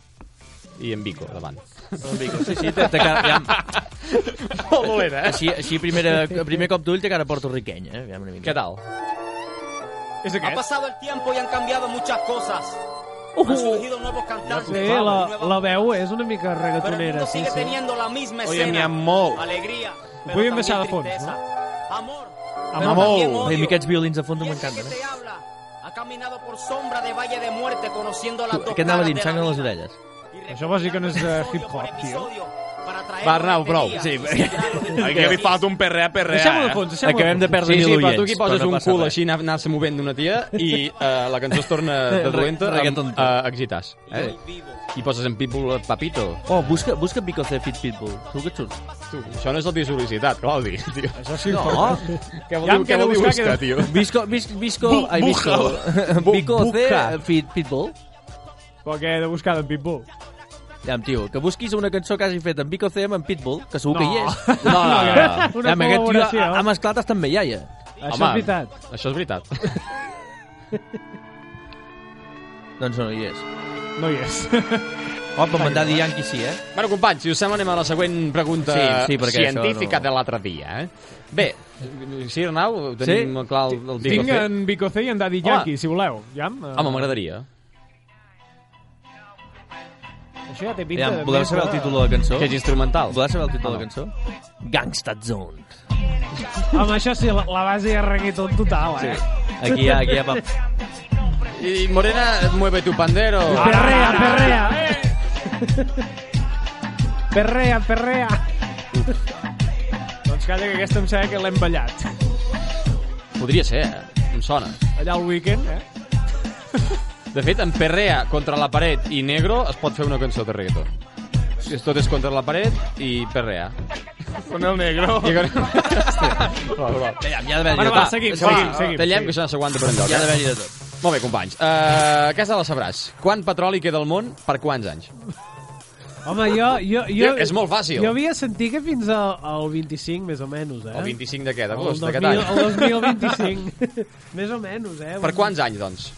G: I en bico, davant.
H: En Vico. Sí, sí, té, té cara, ja,
G: Molt eh? dolent,
H: així, així primera, primer cop d'ull té cara portorriquenya, eh? Aviam una mica.
G: Què tal?
B: És
L: Ha
B: aquest?
L: pasado el tiempo y han cambiado muchas cosas. Han surgido nuevos cantantes.
I: Sí, la, la veu és una mica
L: Pero el
I: reggaetonera,
L: mundo
I: sí,
L: sigue
I: sí.
L: teniendo la misma
F: Oye, mi
L: escena.
F: amor.
L: Alegría. pero
B: Voy a
L: también
B: empezar de fondo,
L: tristeza. Amor. pero
B: Amor.
L: también
H: Ai,
L: odio.
H: a mi aquests violins de fons
L: Y el que
H: m'encanten, eh?
L: te habla ha caminado por sombra de valle de muerte conociendo las dos
H: Aquest anava
L: caras
H: dint
L: de
H: sang
L: la
H: a les
L: vida.
H: orelles.
L: Y
B: Això vols dir que no és, eh,
L: episodio
B: hip-hop,
L: por
B: tio?
L: episodio para traer
G: Va, Arnau, prou.
L: alegría
G: Sí,
L: y
G: bé.
L: centrarnos en
F: Aquí li falta un perrea, perrea.
B: Deixem-ho de
F: eh?
B: fons, doncs, deixem-ho
H: Acabem de perdre
G: Sí,
H: mil
G: sí,
H: oients.
G: però tu aquí poses
H: no
G: un
H: passa
G: cul
H: res.
G: així, anar- anar-se movent d'una tia i eh, la cançó es torna de dolenta
H: Reggaeton.
G: amb eh, exitars.
L: Yo
G: Eh?
L: hoy vivo.
G: I poses en pitbull eh, papito.
H: Oh, busca, busca Vico C Fit Pitbull. Tu que et surt?
G: Tu, això no és el tio sol·licitat, Claudi. Tio.
B: Això sí.
H: No,
G: Què vol
B: Ja em
G: dir, què
B: queda
G: vol dir
B: buscar,
G: buscar,
B: queda-
G: tio?
H: Visco, vis, visco, ai, visco.
G: Bu-
H: Vico C
G: buca.
H: Fit Pitbull.
B: Però què he de buscar d'en Pitbull?
H: Ja, tio, que busquis una cançó que hagi fet amb Vico C amb en Pitbull, que segur que hi és.
G: No, no, no. no.
I: Una
H: Amb aquest tio
I: col·laboració.
H: ha, ha mesclat hasta amb Mellaia.
I: Això
G: Home,
I: és veritat.
G: Això és veritat.
H: Doncs no hi és.
B: No hi és.
H: Oh, però em van dir Yankee sí, eh?
G: Bueno, companys, si us sembla, anem a la següent pregunta
H: Sí, sí, perquè això
G: científica
H: no-
G: de l'altre dia. Eh? Bé, sí, Arnau, tenim sí? clar el, el
B: Tinc
G: Vico C?
B: en Vico C i en Daddy
G: Home.
B: Yankee, si voleu. Jam, eh,
G: Home, m'agradaria.
B: Això ja té pinta
H: Ja,
B: de
H: voleu
B: més
H: saber el
B: de-
H: títol de la cançó?
G: Que és instrumental.
H: Voleu saber el títol de la cançó? Gangsta Zone.
I: Home, això sí, la, la base ja és reggaeton total, eh?
H: Aquí ja, aquí ja va...
G: I Morena, mueve tu pandero.
I: Ah. Perrea,
G: Ah.
I: perrea. Perrea, perrea.
B: Doncs calla, que aquesta em sembla que l'hem ballat.
G: Podria ser, eh? Em sona.
B: Allà al weekend, eh?
G: De fet, en Perrea contra la paret i negro es pot fer una cançó de reggaeton. Si és tot és contra la paret i Perrea.
F: Con el negro.
G: I... Hòstia.
H: Ja, hi ha d'haver-hi
B: Bueno,
H: de
B: va,
H: tot.
B: seguim,
G: Va,
B: seguim, seguim.
G: Ah, Tallem, que això no s'aguanta per enlloc.
H: Hi ha
G: Eh?
H: d'haver-hi de tot.
G: Molt bé, companys. Uh, aquesta la sabràs. Quant petroli queda al món per quants anys?
I: Home, jo... jo, jo
G: És molt fàcil.
I: Jo havia sentit que fins al, al 25, més o menys, eh?
G: El 25 de què?
I: El
G: D'agost? D'aquest
I: 2000,
G: any?
I: el 2025. més o menys, eh?
G: Per quants anys, doncs?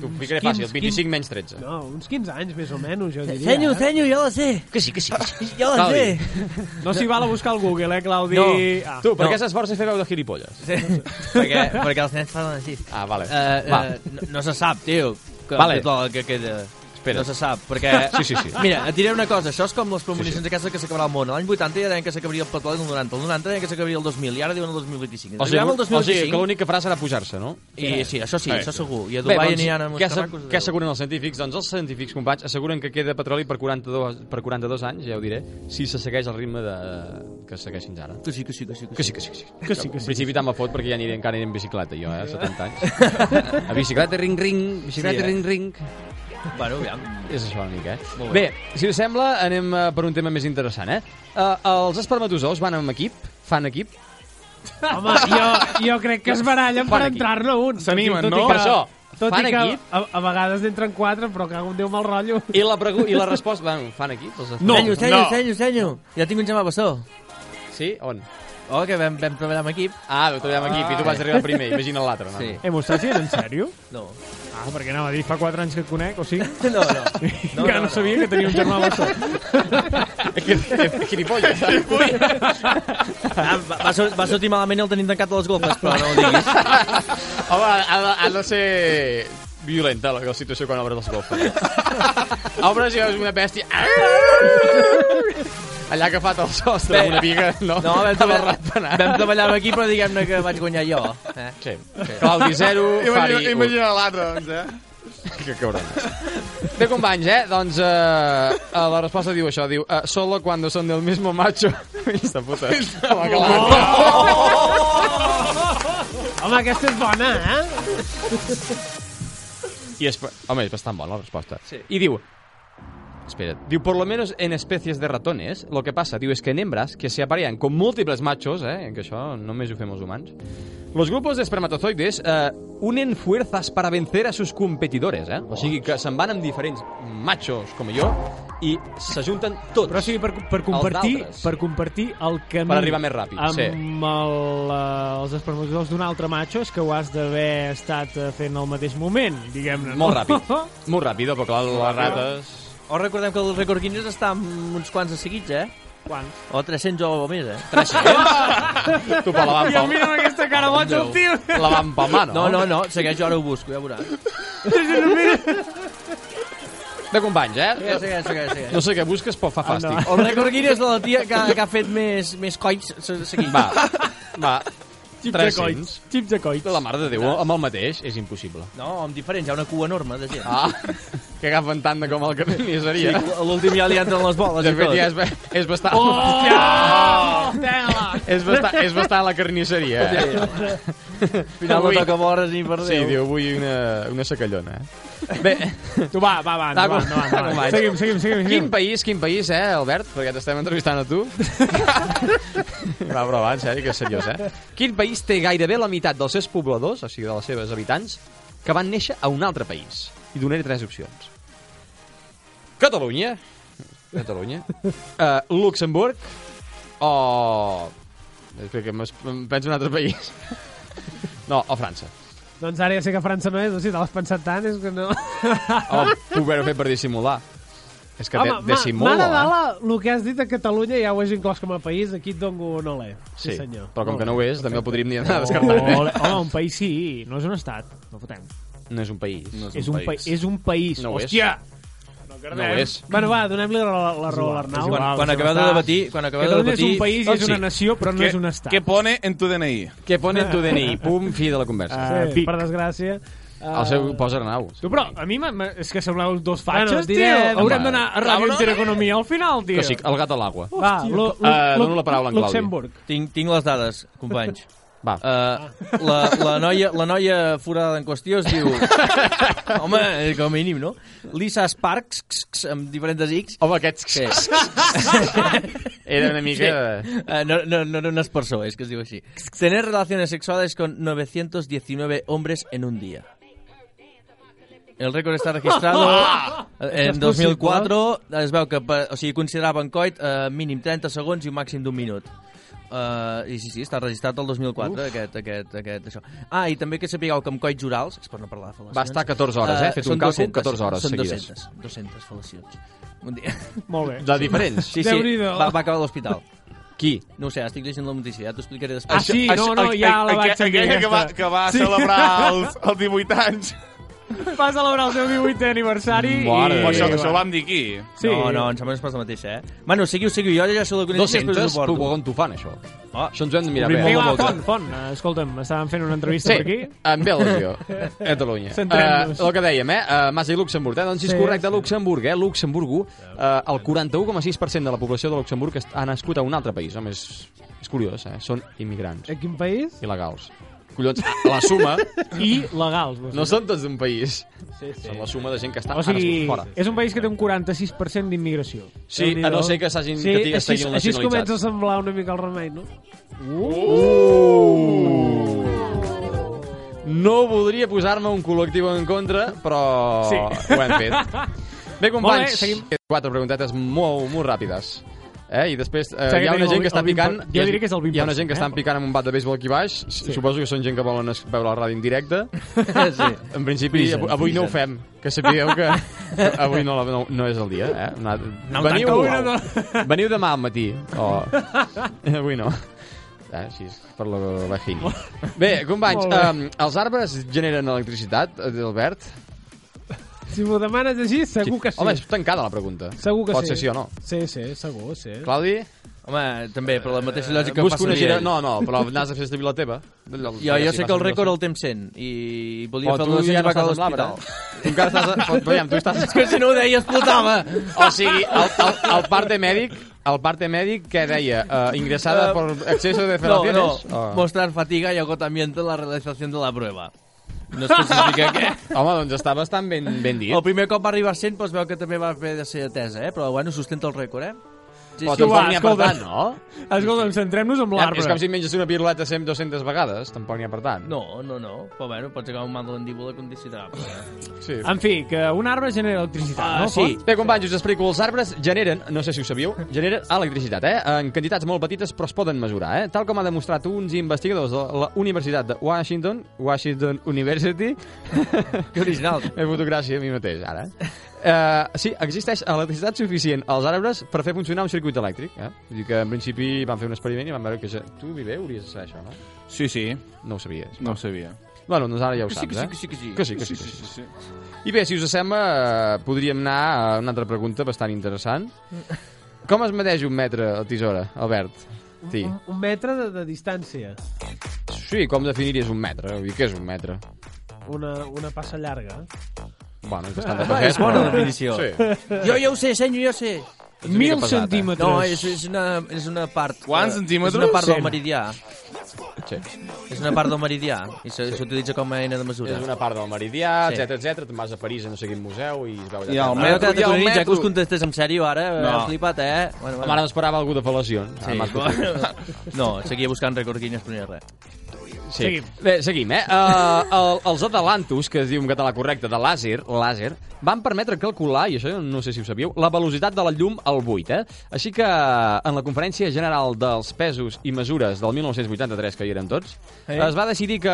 G: T'ho ficaré fàcil.
I: 15,
G: 25 menys 13.
I: No, uns 15 anys, més o menys, jo diria.
H: Senyo,
I: eh?
H: senyo, jo la sé.
G: Que sí, que sí. Que sí.
H: Jo la
G: Calvi.
H: sé.
B: No s'hi val a buscar al Google, eh, Claudi?
H: No.
B: Ah.
G: Tu, per
H: No.
G: què s'esforça a fer veu de gilipolles?
H: perquè, perquè els nens fan així.
G: Ah, vale.
H: Eh,
G: Va.
H: eh, no, no se sap, tio, que,
G: Vale.
H: tot el que queda.
G: Espera.
H: No se sap, perquè...
G: Sí, sí, sí.
H: Mira, et diré una cosa, això és com les premonicions sí, sí. aquesta que s'acabarà el món. L'any 80 ja deien que s'acabaria el petroli el 90, el 90 deien que s'acabaria el 2000, i ara diuen el 2025.
G: O sigui,
H: Arribem al
G: o sigui que
H: 2025,
G: l'únic que farà serà pujar-se, no?
H: i sí, això sí,
F: Eh.
H: això segur. I a
G: Bé,
H: Dubai
G: doncs,
H: aniran amb uns
G: què, assa-
H: carracos de
G: què
H: Déu.
G: asseguren els científics? Doncs els científics, companys, asseguren que queda petroli per 42, per 42 anys, ja ho diré, si se segueix el ritme de... que se segueix fins ara.
H: Que sí, que sí, que sí.
G: Que sí, que sí, que sí.
B: Que sí, que
G: En
B: sí.
G: principi tant me fot perquè ja aniré encara aniré en bicicleta, jo, eh, 70 anys. A bicicleta, ring, ring, bicicleta,
H: Sí, eh?
G: ring, ring.
H: Bueno, aviam.
G: És això una mica, eh?
H: Molt
G: Bé.
H: bé.
G: bé, si us sembla, Eh, anem eh, per un tema més interessant, eh? Uh, els espermatozous van en equip, fan equip,
I: Home, jo, jo crec que es barallen per
B: Fan equip.
I: entrar-ne un.
B: S'animen,
I: Tot i
B: no?
I: que-
B: Per això,
I: Tot
G: fan
I: i que
G: equip.
I: a, a vegades n'entren quatre, però cago en Déu mal rotllo.
G: I la, pregu- i la resposta... Bueno, fan aquí? Els
H: No, senyo, senyo, senyo, senyo. Ja tinc un germà bastó.
G: Sí? On?
H: Oh, que vam, vam treballar amb equip.
G: Ah, vam treballar amb equip i tu vas arribar primer, imagina l'altre, no?
H: Sí.
B: Eh, Mustafi, és en sèrio?
H: No.
B: Ah, perquè anava a dir, fa 4 anys que et conec, o 5?
H: No, no.
B: no Encara no, no sabia que tenia un germà bessó.
G: que, que gilipolles, saps?
H: Ah, va, va, sor- va sortir malament i el tenim tancat a les golfes, però no ho diguis.
G: Home, ha, de- ha de ser violenta la, la situació quan obres els golfes. obres i veus una bèstia... Allà agafat al sostre amb una viga, no?
H: No, vam treballar,
G: ratpenat.
H: vam treballar amb equip, però diguem-ne que vaig guanyar jo. Eh?
G: Sí. Claudi 0, Fari
E: Imagina,
G: 1.
E: imagina l'altre, doncs, eh?
G: Que cabron. Bé, companys, eh? Doncs eh, eh, la resposta diu això, diu eh, Solo cuando son del mismo macho. Aquesta puta.
H: Oh!
G: Home, que la-
I: Home, aquesta és bona, eh?
G: I és, home, és bastant bona la resposta. Sí. I diu... Espera't. Diu, por lo menos en especies de ratones, lo que pasa, diu, es que en hembras que se aparean con múltiples machos, eh, que això només ho fem els humans, los grupos de espermatozoides eh, unen fuerzas para vencer a sus competidores, eh? O sigui que se'n van amb diferents machos, com jo, i s'ajunten tots.
B: Però o sigui, per, per, compartir,
G: Els d'altres.
B: per compartir el camí...
G: Per arribar més ràpid,
B: amb
G: sí.
B: el, eh, els espermatozoides d'un altre macho és que ho has d'haver estat eh, fent al mateix moment, diguem-ne. no?
G: Molt ràpid. Molt ràpid, però clar, les rates...
H: O Oh, recordem que el record Guinness està amb uns quants de seguits, eh?
B: Quants?
H: O 300 o més, eh?
G: Tu per la van
B: Ja
G: palmar.
B: mira amb aquesta cara boja, el tio!
G: La van palmar, no?
H: No, no, no, segueix, jo ara ho busco, ja veuràs.
G: De companys, eh?
H: Segueix, segueix, segueix. segueix.
G: No sé què busques, però fa fàstic.
H: El record Guinness de la tia que, que ha fet més, més colls se- seguits.
G: Va, va.
B: Xips de
G: 300.
B: coits. Xips de coits.
G: La mare de Déu, amb el mateix és impossible.
H: No, amb diferents, hi ha una cua enorme de gent.
G: Ah, que agafen tant de com el que
H: Sí,
G: pensaria.
H: a l'últim ja li entren les boles
G: De
H: i
G: fet,
H: tot.
G: ja és, ba- és bastant... Oh! és, bastant, és bastant la carnisseria, eh?
H: Al final no
G: Avui-
H: toca vores ni per Déu.
G: Sí, diu, vull una, una sacallona, eh? Bé,
B: Tu va, va,
G: Ah,
B: va, endavant,
G: com-
B: endavant, endavant.
G: com-
B: Seguim, seguim, seguim.
G: quin
B: seguim.
G: país, quin país, eh, Albert? Perquè t'estem entrevistant a tu. Va, però va, en sèrio, que és seriós, eh? Quin país té gairebé la meitat dels seus pobladors, o sigui, de les seves habitants, que van néixer a un altre país? I donaré tres opcions. Catalunya, Catalunya, uh, Luxemburg o... Espera, que m'es- em penso en un altre país. No, o França.
I: Doncs ara ja sé que França no és, o sigui, te l'has pensat tant, és que no...
G: Home, puc haver-ho fet per dissimular. És que de, eh?
I: Home, ma-
G: dissimula,
H: eh?
I: M'agrada el que has dit a Catalunya ja ho has inclòs com a país, aquí et dono un olé. Sí, senyor.
G: Però com que no ho és, també el podríem dir anar a
B: Oh,
G: descartar.
B: ole- home, un país sí, no és un estat. No fotem.
G: No és un país. No
B: És un, pa és un país.
G: No ho és.
B: Hòstia!
G: No ho és.
I: Bueno, va, donem-li la, la raó a l'Arnau.
H: Quan,
B: Igual,
H: quan
B: ja
H: acabeu de
B: està.
H: debatir... Quan acabeu de
B: Catalunya és
H: debatir...
B: un país i és
G: Doncs
B: una
G: sí.
B: nació, però no és un estat.
F: Què pone en tu DNI?
G: Què pone en tu DNI? Pum, fi de la conversa.
I: Sí,
B: Vic.
I: per desgràcia. Uh,
G: El seu posa Arnau.
B: Tu, però a mi m'ha- m'ha- és que sembleu dos fatxes,
I: Bueno,
B: tio.
I: direm-
B: Haurem
G: Home.
B: d'anar a Ràdio
F: Cabrón.
B: Intereconomia al final, tio.
G: Que sí, el gat a l'aigua.
I: Va, lo, lo,
G: Eh,
I: lo-
G: dono la paraula a en Claudi.
I: Luxemburg.
H: Tinc, tinc les dades, companys.
G: Va.
H: Uh, la, la, noia, la noia forada en qüestió es diu... Home, eh, com a mínim, no? Lisa Sparks, x, x, amb diferents X.
G: Home, aquest...
H: Sí.
G: Era una mica...
H: Sí. Eh, no, no, no, no, no es por eso, es que os digo así. Tener relaciones sexuales con 919 hombres en un día. El récord està registrat eh, en 2004. eh, Es veu que per, o sigui, consideraven coit eh, mínim 30 segons i un màxim d'un minut. Uh, I sí, sí, està registrat el 2004, aquest, aquest, aquest, això. Ah, i també que sapigueu que amb coits orals, és per no parlar de fal·lacions...
G: Va estar 14 hores, eh?
H: eh,
G: He fet
H: són
G: un càlcul, 14 hores
H: són
G: seguides.
H: 200, 200 fal·lacions. Un dia.
B: Molt bé.
G: De diferents.
H: Sí, sí,
I: Déu-n'hi-do.
H: va, va acabar a l'hospital.
G: Qui?
H: No ho sé, estic llegint la notícia, ja t'ho explicaré després.
B: Ah, sí, no, no, ja la vaig sentir.
F: Aquella que va,
B: aquesta.
F: que va sí. celebrar els, els 18 anys.
B: Va celebrar el seu 18è aniversari i...
G: Mare de
F: Però això,
G: Déu.
F: això ho vam dir aquí.
B: Sí.
H: No, no, em sembla que es passa la mateixa, eh? Bueno, seguiu, seguiu, jo ja sé la coneixia, després
G: 200?
H: us ho
G: Però
H: porto.
G: on t'ho fan, això?
H: Ah.
G: Això ens ho hem de mirar
H: Obrim
G: bé.
B: Vinga,
H: molt
B: va,
H: la
B: Font,
H: boca.
B: Font, eh, escolta'm, estàvem fent una entrevista
G: Sí,
B: per aquí.
G: amb bé lesió. Catalunya.
B: Centrem-nos.
G: Eh, el que dèiem, eh? Uh, Massa i Luxemburg. Eh? Doncs sí, és correcte, Luxemburg, eh? Luxemburg, uh, el 41,6% de la població de Luxemburg est- ha nascut a un altre país. Home, és, és curiós, eh? Són immigrants.
I: A quin país?
G: Il·legals. collons, a la suma...
B: I legals. vols
G: No
B: dir.
G: són tots d'un país.
B: Sí, sí.
G: Són la suma de gent que està
B: O sigui,
G: fora.
B: és un país que té un 46% d'immigració.
G: Sí,
B: Déu-n'hi-do.
G: a no ser que s'hagin-
I: Sí,
G: que tinguin-
I: així,
G: estiguin
I: així es comença a
G: nacionalitzats.
I: semblar una mica el remei, no?
B: Uh!
G: No voldria posar-me un col·lectiu en contra, però
B: Sí.
G: ho hem fet. Bé,
B: Molt
G: companys, eh,
B: bé, seguim.
G: quatre preguntetes molt, molt ràpides. Eh? I després eh,
B: Seguim
G: hi ha una
B: el
G: gent
B: vi-
G: que està
B: el vint per-
G: picant...
B: jo diria que és el vint
G: Hi ha una
B: per
G: gent que
B: cent,
G: està
B: eh?
G: picant amb un bat de béisbol aquí baix. Sí. Suposo que són gent que volen es- veure la ràdio en directe.
H: sí.
G: En principi,
H: Frigen,
G: av- avui no ho
H: frigen.
G: fem. Que sapigueu que avui no, la- no, no és el dia. Eh? Una,
H: No,
G: veniu,
H: tant que avui no,
G: veniu demà al matí. O... avui no. Ah, així és, per la vagina. Bé, companys,
I: Molt bé.
G: um, els arbres generen electricitat, eh, Albert?
I: Si m'ho demanes així, segur que sí.
G: Home, és tancada la pregunta.
I: Segur que
G: Pot
I: sí.
G: ser sí o no.
I: Sí, sí, segur, sí.
G: Claudi?
H: Home, també, per la mateixa lògica
G: Busca
H: que
G: una gira...
H: ell.
G: No, no, però n'has de fer establir la teva.
H: Jo, jo sé que el rècord el temps 100 i volia
G: Oh,
H: fer el
G: tu ja
H: 200 i
G: no eh?
H: va acabar a
G: estàs amb l'arbre,
H: l'hospital.
G: Tu encara estàs... A... Pot, veiem, tu estàs...
H: És que si no ho deia, explotava.
G: eh, O sigui, el, el, el parte mèdic... El parte mèdic, què deia? Uh, ingressada
H: Eh,
G: per exceso de
H: No,
G: felaciones?
H: no.
G: Oh.
H: Mostrar fatiga y agotamiento en la realización de la prueba. No especifica què.
G: Home, doncs està bastant ben, ben dit.
H: El primer cop va arribar a 100, doncs veu que també va haver de ser atesa, eh? Però, bueno, sustenta el rècord, eh?
G: Però tampoc n'hi ha per tant, no?
B: Escolta'm, centrem-nos amb l'arbre.
G: És com si menges una piruleta 100 200 vegades, tampoc n'hi ha per tant.
H: No, no, no. Però, bueno, pots acabar amb mal de mandíbula condicionable. Eh?
G: Sí.
B: En fi, que un arbre genera electricitat,
G: Ah,
B: no?
G: sí.
B: Pot?
G: Bé, companys, us explico. Els arbres generen, no sé si ho sabíeu, generen electricitat, eh? En quantitats molt petites, però es poden mesurar, eh? Tal com ha demostrat uns investigadors de la Universitat de Washington, Washington University...
H: Que original.
G: He fotut gràcia a mi mateix, ara. Uh, sí, existeix electricitat suficient als arbres per fer funcionar un circuit elèctric. Eh? Vull dir que, en principi, van fer un experiment i van veure que... ja- Tu, Viver, hauries de saber això, no?
F: Sí, sí.
G: No ho sabies.
F: No ho sabia.
G: Bueno, doncs ara ja ho
F: Que sí,
G: saps,
F: que sí,
G: eh?
F: que sí, que sí.
G: Que sí, que sí,
F: Sí,
G: que
F: sí,
G: sí.
F: sí,
G: I bé, si us sembla, eh, podríem anar a una altra pregunta bastant interessant. Com es medeix un metre a tisora, Albert? Sí.
H: Uh,
I: Un, un metre de, de distància.
G: sí, com definiries un metre? Vull dir, què és un metre?
I: Una, una passa llarga.
G: Bueno, és bastant de
H: Ah,
G: pagès,
H: és bona
G: però-
H: definició.
G: Sí.
H: Jo ja ho sé, senyor, jo sé.
G: una mica Mil pesat, eh? centímetres.
H: No, és, és, una, és una part...
F: Quants
H: eh,
F: centímetres?
H: És una part
F: Cent.
H: del meridià.
G: Sí.
H: És una part del meridià i se- s'utilitza com a eina de mesura.
G: És una part del meridià,
H: Sí.
G: etc etc. Te'n vas a París a no sé quin museu i es veu allà.
F: I el
G: terra.
H: Bueno,
F: i
H: que
F: el
H: t'autoritzar que
F: metro.
H: us contestés en sèrio ara,
F: No.
H: no. has flipat, eh? Bueno,
G: Home, ara m'esperava algú de fel·lacions.
H: Sí,
G: Ara m'has fotut.
H: bueno. No, seguia buscant rècord Guinness, però no hi ha res.
G: Sí.
B: Seguim.
G: Bé, seguim, eh? Uh, el, els atalantos, que es diu en català correcte, de làser, làser, van permetre calcular, i això no sé si ho sabíeu, la velocitat de la llum al 8, eh? Així que en la Conferència General dels Pesos i Mesures del 1983, que hi érem tots,
H: Ei.
G: es va decidir que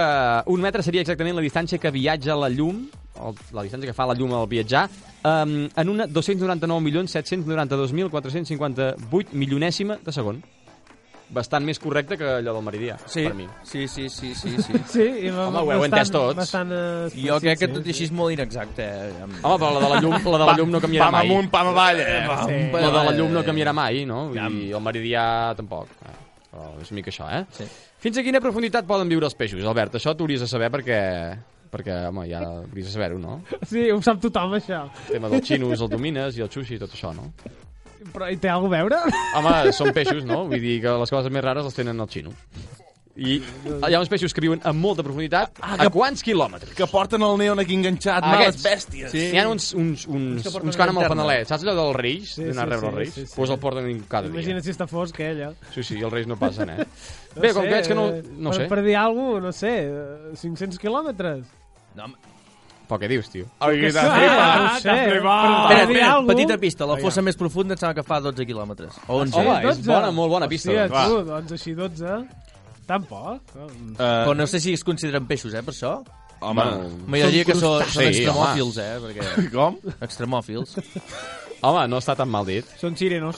G: un metre seria exactament la distància que viatja la llum o la distància que fa la llum al viatjar, um, en una 299.792.458 milionèsima de segon. Bastant més correcte que allò del meridià,
H: Sí,
G: per mi.
H: sí, sí, sí, sí, sí.
I: Sí, i va,
G: Home, ho heu
I: bastant-
G: entès tots.
I: Bastant, eh,
H: Jo crec que
I: sí,
H: tot i
I: sí.
H: així és molt inexacte. eh? Amb-
G: Home, però la de la llum, la de la llum no canviarà
F: Pam
G: mai.
F: amunt, pam avall, eh?
I: Sí.
G: La de la llum no canviarà mai, no? Vull dir, el meridià tampoc. Eh, Però és una mica això, eh?
H: Sí.
G: Fins a quina profunditat poden viure els peixos, Albert? Això t'hauries de saber perquè... Perquè, home, ja hauries de saber-ho, no?
I: Sí, ho sap tothom, això.
G: El tema dels xinos, el domines i el sushi i tot això, no?
I: Però hi té alguna cosa a veure?
G: Home, són peixos, no? Vull dir que les coses més rares les tenen el xino. I hi ha uns peixos que viuen amb molta profunditat.
I: Ah,
G: A quants quilòmetres?
F: Que porten el neon aquí enganxat,
G: Ah,
F: males
G: aquests.
F: bèsties.
G: Sí. N'hi ha uns, uns, uns,
H: que porten
G: uns que van amb el
H: llanterna.
G: panalet. Saps allò dels reis?
I: Sí,
G: Sí, D'anar
I: sí,
G: a rebre
I: sí,
G: els reis?
I: sí,
G: Doncs
I: sí.
G: pues el porten cada dia.
I: Imagina't si està fosc, eh, allò. eh,
G: Sí, sí, els reis no passen, eh? Bé, com que veig que no... No
I: per,
G: sé.
I: Per dir alguna cosa, no sé, eh, 500 quilòmetres.
H: No, home.
G: Però què dius, tio?
F: Ai, que t'has
I: Ah,
F: flipat.
I: no ho sé.
B: t'has
I: Per-
B: flipat.
I: per
H: Espera,
I: dir
H: espera,
I: alguna cosa.
H: petita pista. La fossa més profunda em sembla que fa 12 quilòmetres. O 11.
G: Home, és
I: 12.
G: bona, molt bona pista.
I: Hòstia,
G: doncs.
I: tu, doncs així 12. Tampoc. Mm.
H: Però no sé si es consideren peixos, eh, per això.
F: Home,
H: M'agradaria que són,
G: crustacis,
H: són extremòfils, eh, perquè...
F: com?
H: Extremòfils.
G: Home, no està tan mal dit.
B: Són sirenos.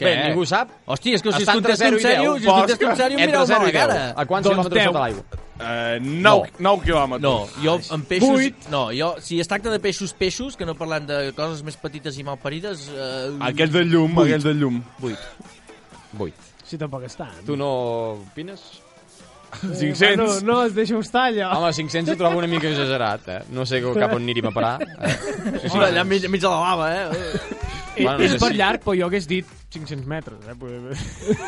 G: Què? Bé, ningú sap.
H: Hòstia, és que si es
G: Està entre
H: contesta
G: 0
H: en
G: i
H: sèrio,
G: 10.
H: si es contesta en sèrio, mireu
G: Entre
H: la
G: 0 i
H: meva
G: 10.
H: cara.
G: A quants
B: Doncs
G: quilòmetres
B: deu.
G: sota l'aigua?
F: Eh, 9,
G: No.
F: 9 quilòmetres.
H: No, jo amb peixos...
B: Vuit.
H: No, jo, si es tracta de peixos, peixos, que no parlant de coses més petites i malparides... Eh,
F: Aquells de llum,
H: Vuit.
F: aquells de llum.
H: 8.
G: 8.
I: Sí, tampoc està.
G: Tu no opines?
F: 500.
I: Bueno, no, es deixa estar, allò.
G: Home, 500 ho trobo una mica exagerat, eh? No sé cap on aniríem a parar. Eh?
H: Sí, sí, allà enmig, enmig de la lava, eh?
G: Bueno, no
B: és
G: sé
B: per
G: si-
B: llarg, però jo hagués dit 500 metres, eh?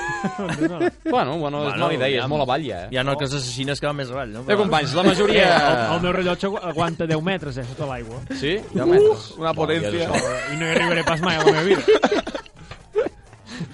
G: Bueno, bueno, és mala idea, és molt avall, ja, eh?
H: Hi ha noques assassines que van més avall, no?
G: Eh, companys, la majoria...
B: El, el meu rellotge agu- aguanta 10 metres, eh, sota l'aigua.
G: Sí?
B: Uh!
G: Eh, Una potència.
B: I no hi arribaré pas mai a la meva vida.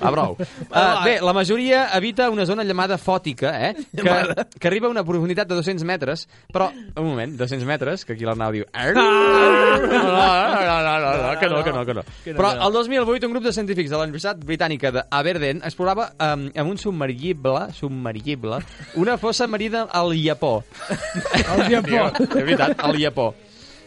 G: Va, brou. Uh, bé, la majoria habita una zona llamada fòtica, eh? Que, que arriba a una profunditat de 200 metres, però... Un moment, 200 metres, que aquí l'Arnau diu... "Arr!" No, no, no, no, no, no, que no, que no, que no. Però el 2008 un grup de científics de la Universitat Britànica d'Aberdeen explorava um, amb un submergible, submergible una fossa marina al Japó. Al
I: Japó.
G: De veritat, al Japó.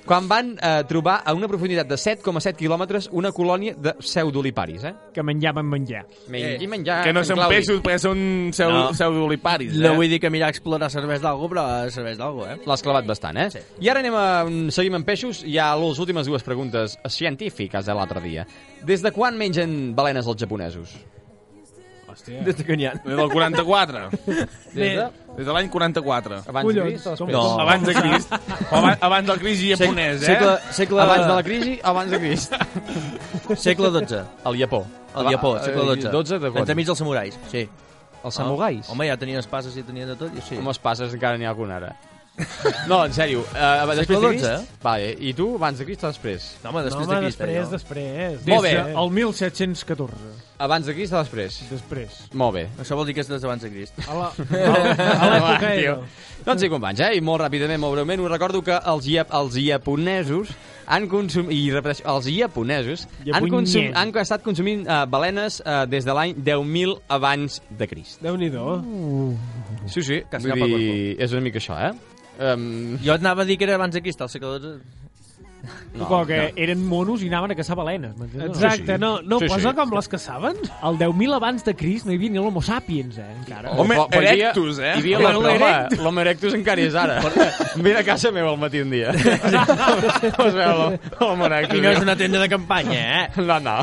G: Quan van eh, trobar a una profunditat de 7,7 quilòmetres una colònia de pseudoliparis, eh?
B: Que menjaven menjar.
G: Men I menjar...
F: Eh, Que no
G: en
F: són
G: Claudi.
F: peixos, perquè són seu,
G: No.
F: eh? pseudoliparis.
G: No vull
H: dir que mirar explorar serveix d'algú, però serveix d'algú, eh?
G: L'has clavat bastant, eh? Sí. I ara anem a... mm, Seguim amb peixos. Hi ha les últimes dues preguntes científiques de l'altre dia. Des de quan mengen balenes els japonesos?
I: Hòstia.
G: Des de que n'hi ha.
F: Des del 44.
G: Des de...
F: Des de l'any 44.
G: Abans de Crist o després?
F: No. Oh. Abans de Crist. O abans, abans del Crist japonès, eh?
G: Segle, segle... Abans de la crisi, abans de Crist.
H: Segle XII.
G: Al Japó.
H: Al Japó, segle XII.
G: 12 eh, de quan?
H: Entremig dels samurais, sí.
G: Els samurais?
H: Home, ja tenien espases i tenien de tot, i sí.
G: Amb les passes encara n'hi ha algun ara. No, en sèrio. Uh, després de
H: Segle
G: Crist...
H: XII, eh?
G: Vale, I tu, abans de Crist o després?
H: No, home,
I: No, home, després, després.
G: Molt bé.
B: Des de- El 1714.
G: Abans de Crist o després?
B: Després.
G: Molt bé.
H: Això vol dir que és des d'abans de Crist.
I: A la-
B: a l'època
G: Va,
B: Edo.
G: tio. Doncs sí, companys, eh? i molt ràpidament, molt breument, us recordo que els, iap els japonesos han consumit, i repeteixo, els japonesos han, consum
I: Japonyesos.
G: han estat consumint uh, balenes uh, des de l'any 10.000 abans de Crist.
I: Déu-n'hi-do.
G: Sí, sí,
H: Casi
G: vull
H: cap a
G: dir, és una mica això, eh? Um,
H: Jo et anava a dir que era abans de Crist, al segle XII.
B: No, com que no. eren monos i anaven a caçar balenes. m'entens?
I: Exacte, no, no
B: Sí, sí.
I: posa com les caçaven?
B: El 10.000 abans de Crist no hi havia ni l'homo sapiens, eh, encara.
G: Home,
B: Però- però hi havia-
G: erectus, eh?
B: Hi havia la
G: Home,
B: prova.
G: L'home erectus encara hi és ara. Vine a casa meva al matí un dia. Vas veure l'home erectus.
H: I no és una tenda de campanya, eh?
G: No, no.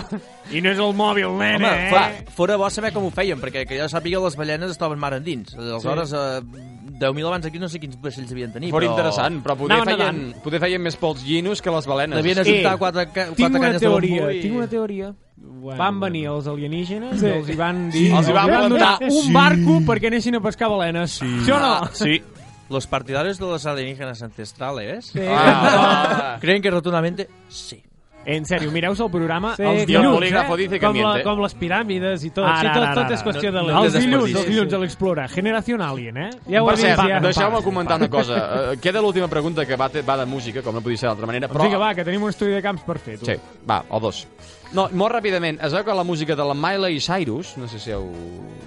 B: I no és el mòbil, nen,
H: Home,
B: eh?
H: fa, fora bo saber com ho feien, perquè que jo sàpiga les balenes estaven mar endins. Aleshores, sí. eh, 10.000 abans aquí no sé quins vaixells devien tenir,
G: Fora
H: però...
G: interessant, però poder,
H: Anaven
G: feien,
H: nedant.
G: poder feien més pols llinos que les balenes.
H: Devien ajuntar quatre, ca-
B: Tinc
H: quatre
B: una
H: canyes
B: teoria,
H: de bambú i...
B: tinc una teoria. Bueno, van venir els alienígenes
I: Sí.
B: i els hi van
I: Sí.
B: dir...
I: Els hi van
B: van donar
I: plantar.
B: un
I: Sí.
B: barco perquè anessin a pescar balenes. Sí, Ah, sí o no?
F: Sí.
H: Los partidarios de los alienígenas ancestrales sí.
B: Ah.
H: creen que rotundamente sí.
B: En sèrio, mireu el programa
I: Sí,
B: els
I: com-
B: dilluns,
I: eh? com, la, com les piràmides i tot.
B: Ara,
I: sí, tot,
B: ara, ara,
I: tot és
B: ara.
I: qüestió de
B: No,
I: la...
B: Els dilluns, els
I: Sí,
B: dilluns
I: sí.
B: a l'Explora. Generación Alien, eh?
I: Ja ho
G: per
I: he vist,
G: cert,
I: ja.
G: deixeu-me comentar una cosa. Eh, Queda l'última pregunta que va, te- va de música, com no podia ser d'altra manera,
B: Però...
G: però...
B: Vinga, va, que tenim un estudi de camps per fer, tu.
G: Sí, va, o dos. No, molt ràpidament, es veu que la música de la Miley Cyrus, no sé si heu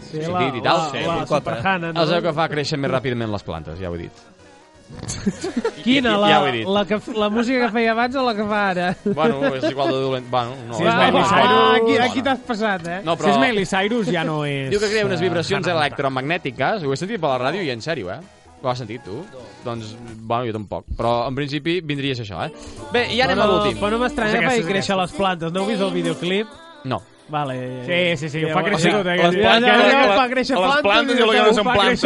I: Sí,
G: sentit
I: la-
G: i tal,
I: la- la
G: boicota.
I: Superhannah, no?
G: es veu que fa créixer més ràpidament les plantes, ja ho he dit.
I: Quina,
G: Ja-
I: la,
G: ja ho he dit.
I: la, que, la música que feia abans o la que fa ara?
G: Bueno, és igual de dolent. Bueno, no,
B: Sí,
G: és
B: és
G: igual.
B: Miley
G: Ah,
B: Cyrus.
I: Ah, aquí,
G: Bueno.
I: aquí t'has passat, eh?
G: No,
B: Si és
G: però...
B: Miley Cyrus ja no és...
G: Diu que crea unes
B: eh,
G: vibracions
B: Hannah Montana.
G: electromagnètiques. Ho he sentit per la ràdio i en sèrio, eh? Ho has sentit, tu? Doncs, bueno, jo tampoc. Però, en principi, vindria a ser això, eh? Bé, i anem
I: Però-
G: a l'últim.
I: Però no m'estranya que feia créixer les plantes. No heu vist el videoclip?
G: No.
I: Vale.
B: Sí, sí, sí, ho fa créixer tot, eh?
I: Les plantes,
B: Ja, ja, ja,
I: fa créixer
F: les
I: plantes.
F: plantes i el que no són plantes,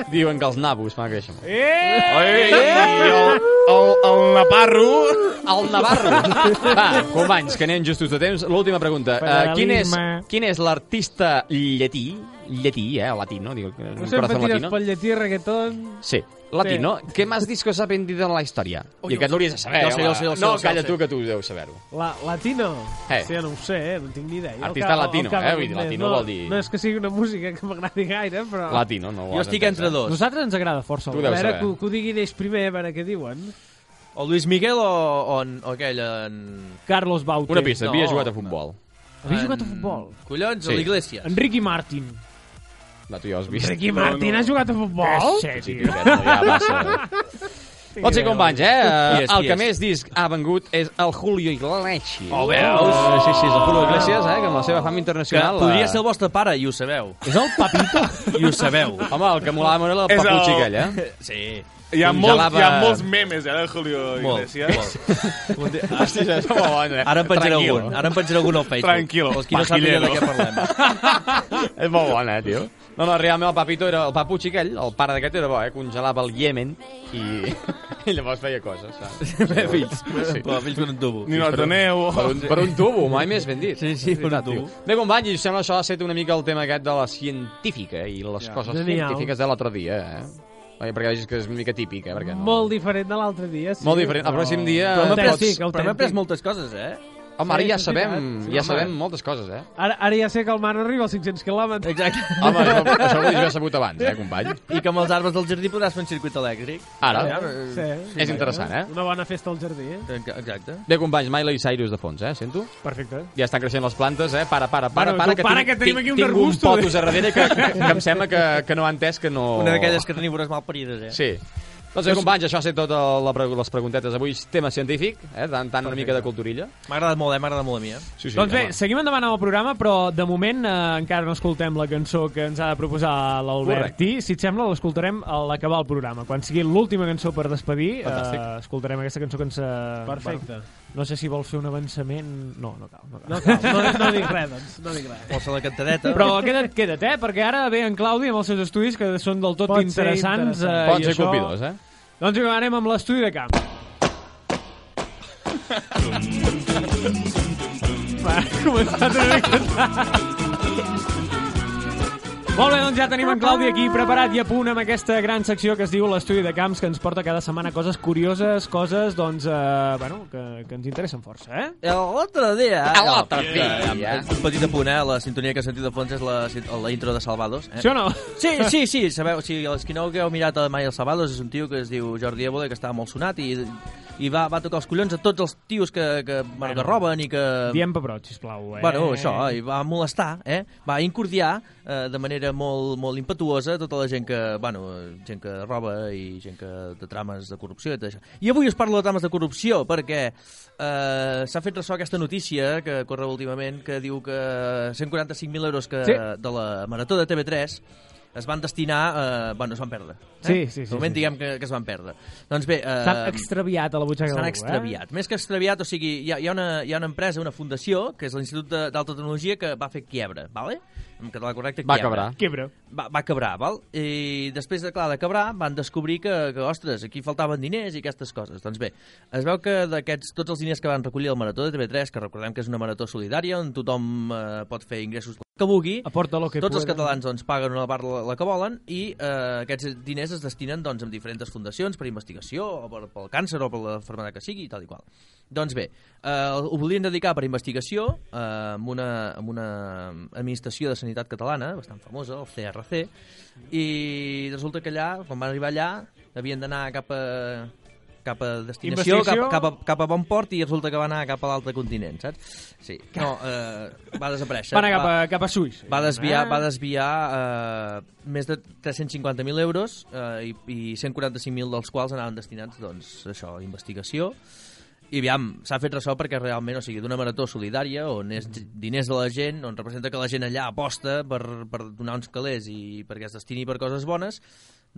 F: eh?
G: Diuen que els nabos fan créixer molt.
F: Oi, i el, el, el naparro...
G: El Navarro. Va, companys, que anem justos de temps. L'última pregunta. Uh, quin és,
B: Federalisme.
G: quin és l'artista llatí? Llatí, eh? Latino, diu. Un
I: No sempre
G: corazón
I: tires
G: latino.
I: pel llatí, reggaeton...
G: Sí, latino. Què más discos ha vendido en la història? I aquest l'hauries de saber,
H: Jo sé, jo
G: home.
H: sé, jo sé,
G: No,
H: jo sé,
G: calla
H: jo sé.
G: tu, que tu deus saber-ho.
I: La, latino?
G: Eh.
I: Sí, no ho sé, eh? no en tinc ni idea. El
G: Artista
I: que- el- el
G: latino,
I: que ha
G: eh?
I: venut
G: Vull dir,
I: més.
G: latino
I: no,
G: vol dir-
I: No és que sigui una música que m'agradi gaire, però...
G: Latino, no ho
H: Ah. Jo
G: has
H: estic
G: entès,
H: entre
G: eh?
H: dos.
B: Nosaltres ens agrada força.
G: Tu
B: el
G: deus
I: A veure,
G: saber.
I: que, ho- que ho diguin ells primer, a veure què diuen.
H: O Luis Miguel o, o, en- o aquell... En...
B: Carlos Bauter.
G: Una pista,
H: No,
G: havia jugat a futbol.
B: Havia jugat a
I: Mm.
H: en-
B: futbol.
H: Collons,
G: Sí.
H: a l'Iglésias.
B: Enrique Martin.
G: No, tu ja ho has vist.
I: Ricky Martin ha jugat a futbol?
B: Sí,
G: Sí,
B: sí.
G: tiret, no, ja passa. Pot ser companys, eh? Yes,
H: Qui és,
G: el
H: qui
G: que
H: és?
G: més disc ha vengut és el Julio Iglesias.
H: Oh, veus?
G: Sí, sí, és el Julio Iglesias, eh? Que amb la seva fama
H: Ah. Que
G: internacional...
H: podria
G: eh,
H: ser el vostre pare, i ho sabeu.
B: És el Papito?
H: I ho sabeu.
G: Home, el que molava molt era el
F: És el-
G: paputxi aquell, eh?
H: Sí.
F: Hi ha, molts,
G: Congelava-
F: hi ha molts memes, eh, de Julio
H: Molt,
F: Iglesias.
H: molt.
G: Hòstia, això Ah, és molt bon, eh?
H: Ara en penjaré
G: Tranquil.
H: algun. Ara en penjaré algun al Facebook.
F: Tranquilo,
H: Els qui no sàpiguen
F: pajillero.
H: de què parlem.
G: És molt bon, eh, tio? No, no, realment el papito era... El papuchi aquell, el pare d'aquest era bo, eh? Congelava el Yemen i... I llavors feia coses, saps?
H: Feia fills. Però fills per un tubo.
G: Ni
H: Per un-
G: Per un, per un tubo, mai més ben dit. Sí, sí,
H: per un tubo.
G: Bé, companys, i sembla això ha estat una mica el tema aquest de la científica i les
I: Ja.
G: coses
I: Genial.
G: científiques de l'altre dia, eh? Oi, perquè vegis que és una mica típica, perquè no.
I: Molt diferent de l'altre dia, sí.
G: Molt diferent. El pròxim dia
I: Però m'he
G: pots-
I: après,
G: però m'he
H: Hem après moltes coses, eh?
G: Home, ara
I: Sí,
G: ja
I: és
G: sabem,
I: veritat.
G: ja
I: Sí,
G: sabem
I: home.
G: moltes coses, eh?
I: Ara, ara ja sé que el mar arriba als 500 quilòmetres.
H: Exacte.
G: Home, això, això ho hauries d'haver sabut abans, eh, company?
H: I que amb els arbres del jardí podràs fer un circuit elèctric.
G: Ara.
H: eh,
G: Sí. És
H: sí.
G: interessant, eh?
I: Una bona festa al jardí, eh?
H: Exacte.
G: Bé, companys, Miley Cyrus de fons, eh? Sento?
B: Perfecte.
G: Ja estan creixent les plantes, eh? Para, para, para,
B: Bueno,
G: para,
B: tu para, que tenim aquí un
G: tinc
B: arbusto,
G: un potus
B: eh?
G: a darrere que, que, que em sembla que, que no ha entès que no...
H: Una d'aquelles carnívores mal parides, eh?
G: Sí. Doncs bé, companys, això ha estat tot el- la, pre- les preguntetes avui. Tema científic, eh? Tant, tant una mica de culturilla.
H: M'ha agradat molt, eh? M'ha agradat molt a mi, eh?
G: Sí,
B: doncs bé, seguim endavant amb el programa, però de moment eh, encara no escoltem la cançó que ens ha de proposar l'Albertí. Si et sembla, l'escoltarem a l'acabar el programa. Quan sigui l'última cançó per despedir, eh,
I: Fantàstic.
B: escoltarem aquesta cançó que ens... Eh,
I: Perfecte.
B: bueno, no sé si vols fer un avançament... No, no cal. No, cal.
I: No cal, no, no dic res, doncs. No dic res.
H: Vols fer la cantadeta?
B: Però queda't, queda't, eh? Perquè ara ve en Claudi amb els seus estudis que són del tot
I: Pot ser
B: interessants.
I: interessant.
B: Eh,
I: Pot
B: i
I: ser
B: això...
I: colpidors, eh?
B: Doncs vinga, anem amb l'estudi de camp. Va, ha començat una mica Molt bé, doncs ja tenim en Claudi aquí preparat i a punt amb aquesta gran secció que es diu l'estudi de camps que ens porta cada setmana coses curioses, coses doncs, eh, bueno, que, que ens interessen força, eh?
H: L'altre dia...
B: A l'altre
H: no,
B: dia.
H: eh, Un petit apunt, eh? La sintonia que he sentit de fons és la, la intro de Salvados. Eh?
B: Sí o no?
H: Sí, sí, sí. Sabeu, si els que no hagueu mirat a mai el Salvados és un tio que es diu Jordi Évole, que estava molt sonat i, i va, va tocar els collons a tots els tios que, que, bueno, que roben i que...
B: Diem pebrot, sisplau. Eh?
H: Bueno, això, i va molestar, eh? va incordiar eh, de manera molt, molt impetuosa tota la gent que, bueno, eh, gent que roba i gent que de trames de corrupció i tot això. I avui us parlo de trames de corrupció perquè eh, s'ha fet ressò aquesta notícia que corre últimament que diu que 145.000 euros que,
B: Sí.
H: de la Marató de TV3 es van destinar, eh, bueno, es van perdre.
B: Sí,
H: Eh?
B: sí, sí,
H: De moment
B: sí.
H: diguem que, que es van perdre. Doncs bé... Eh,
B: S'han extraviat a la butxaca
H: S'han
B: d'algú, eh?
H: extraviat. Més que extraviat, o sigui, hi ha, hi, ha una, hi ha una empresa, una fundació, que és l'Institut de- d'Alta Tecnologia, que va fer quiebre, vale? En català correcte,
G: Va
H: quiebre.
G: quebrar.
B: Quiebre.
H: Va, va quebrar, val? I després, de, clar, de quebrar, van descobrir que, que, ostres, aquí faltaven diners i aquestes coses. Doncs bé, es veu que d'aquests, tots els diners que van recollir al Marató de TV3, que recordem que és una marató solidària, on tothom eh, pot fer ingressos que vulgui,
B: Aporta lo que
H: tots els
B: pueda.
H: catalans doncs, paguen una part la, la que volen i eh, aquests diners es destinen doncs, a diferents fundacions per investigació o per, pel càncer o per la enfermedad que sigui i tal i qual. Doncs bé, eh, ho volien dedicar per investigació eh, amb, una, amb una administració de sanitat catalana bastant famosa, el CRC, i resulta que allà, quan van arribar allà, havien d'anar cap a cap a destinació, cap,
B: Investigació.
H: cap, a, cap a bon port i resulta que va anar cap a l'altre continent, saps? Sí. No, eh, va desaparèixer.
B: Va anar cap a, cap a Suís.
H: Va desviar,
B: Ah.
H: va desviar eh, més de 350.000 euros eh, i, i 145.000 dels quals anaven destinats doncs, a això, a investigació. I aviam, s'ha fet ressò perquè realment, o sigui, d'una marató solidària on és diners de la gent, on representa que la gent allà aposta per, per donar uns calés i perquè es destini per coses bones,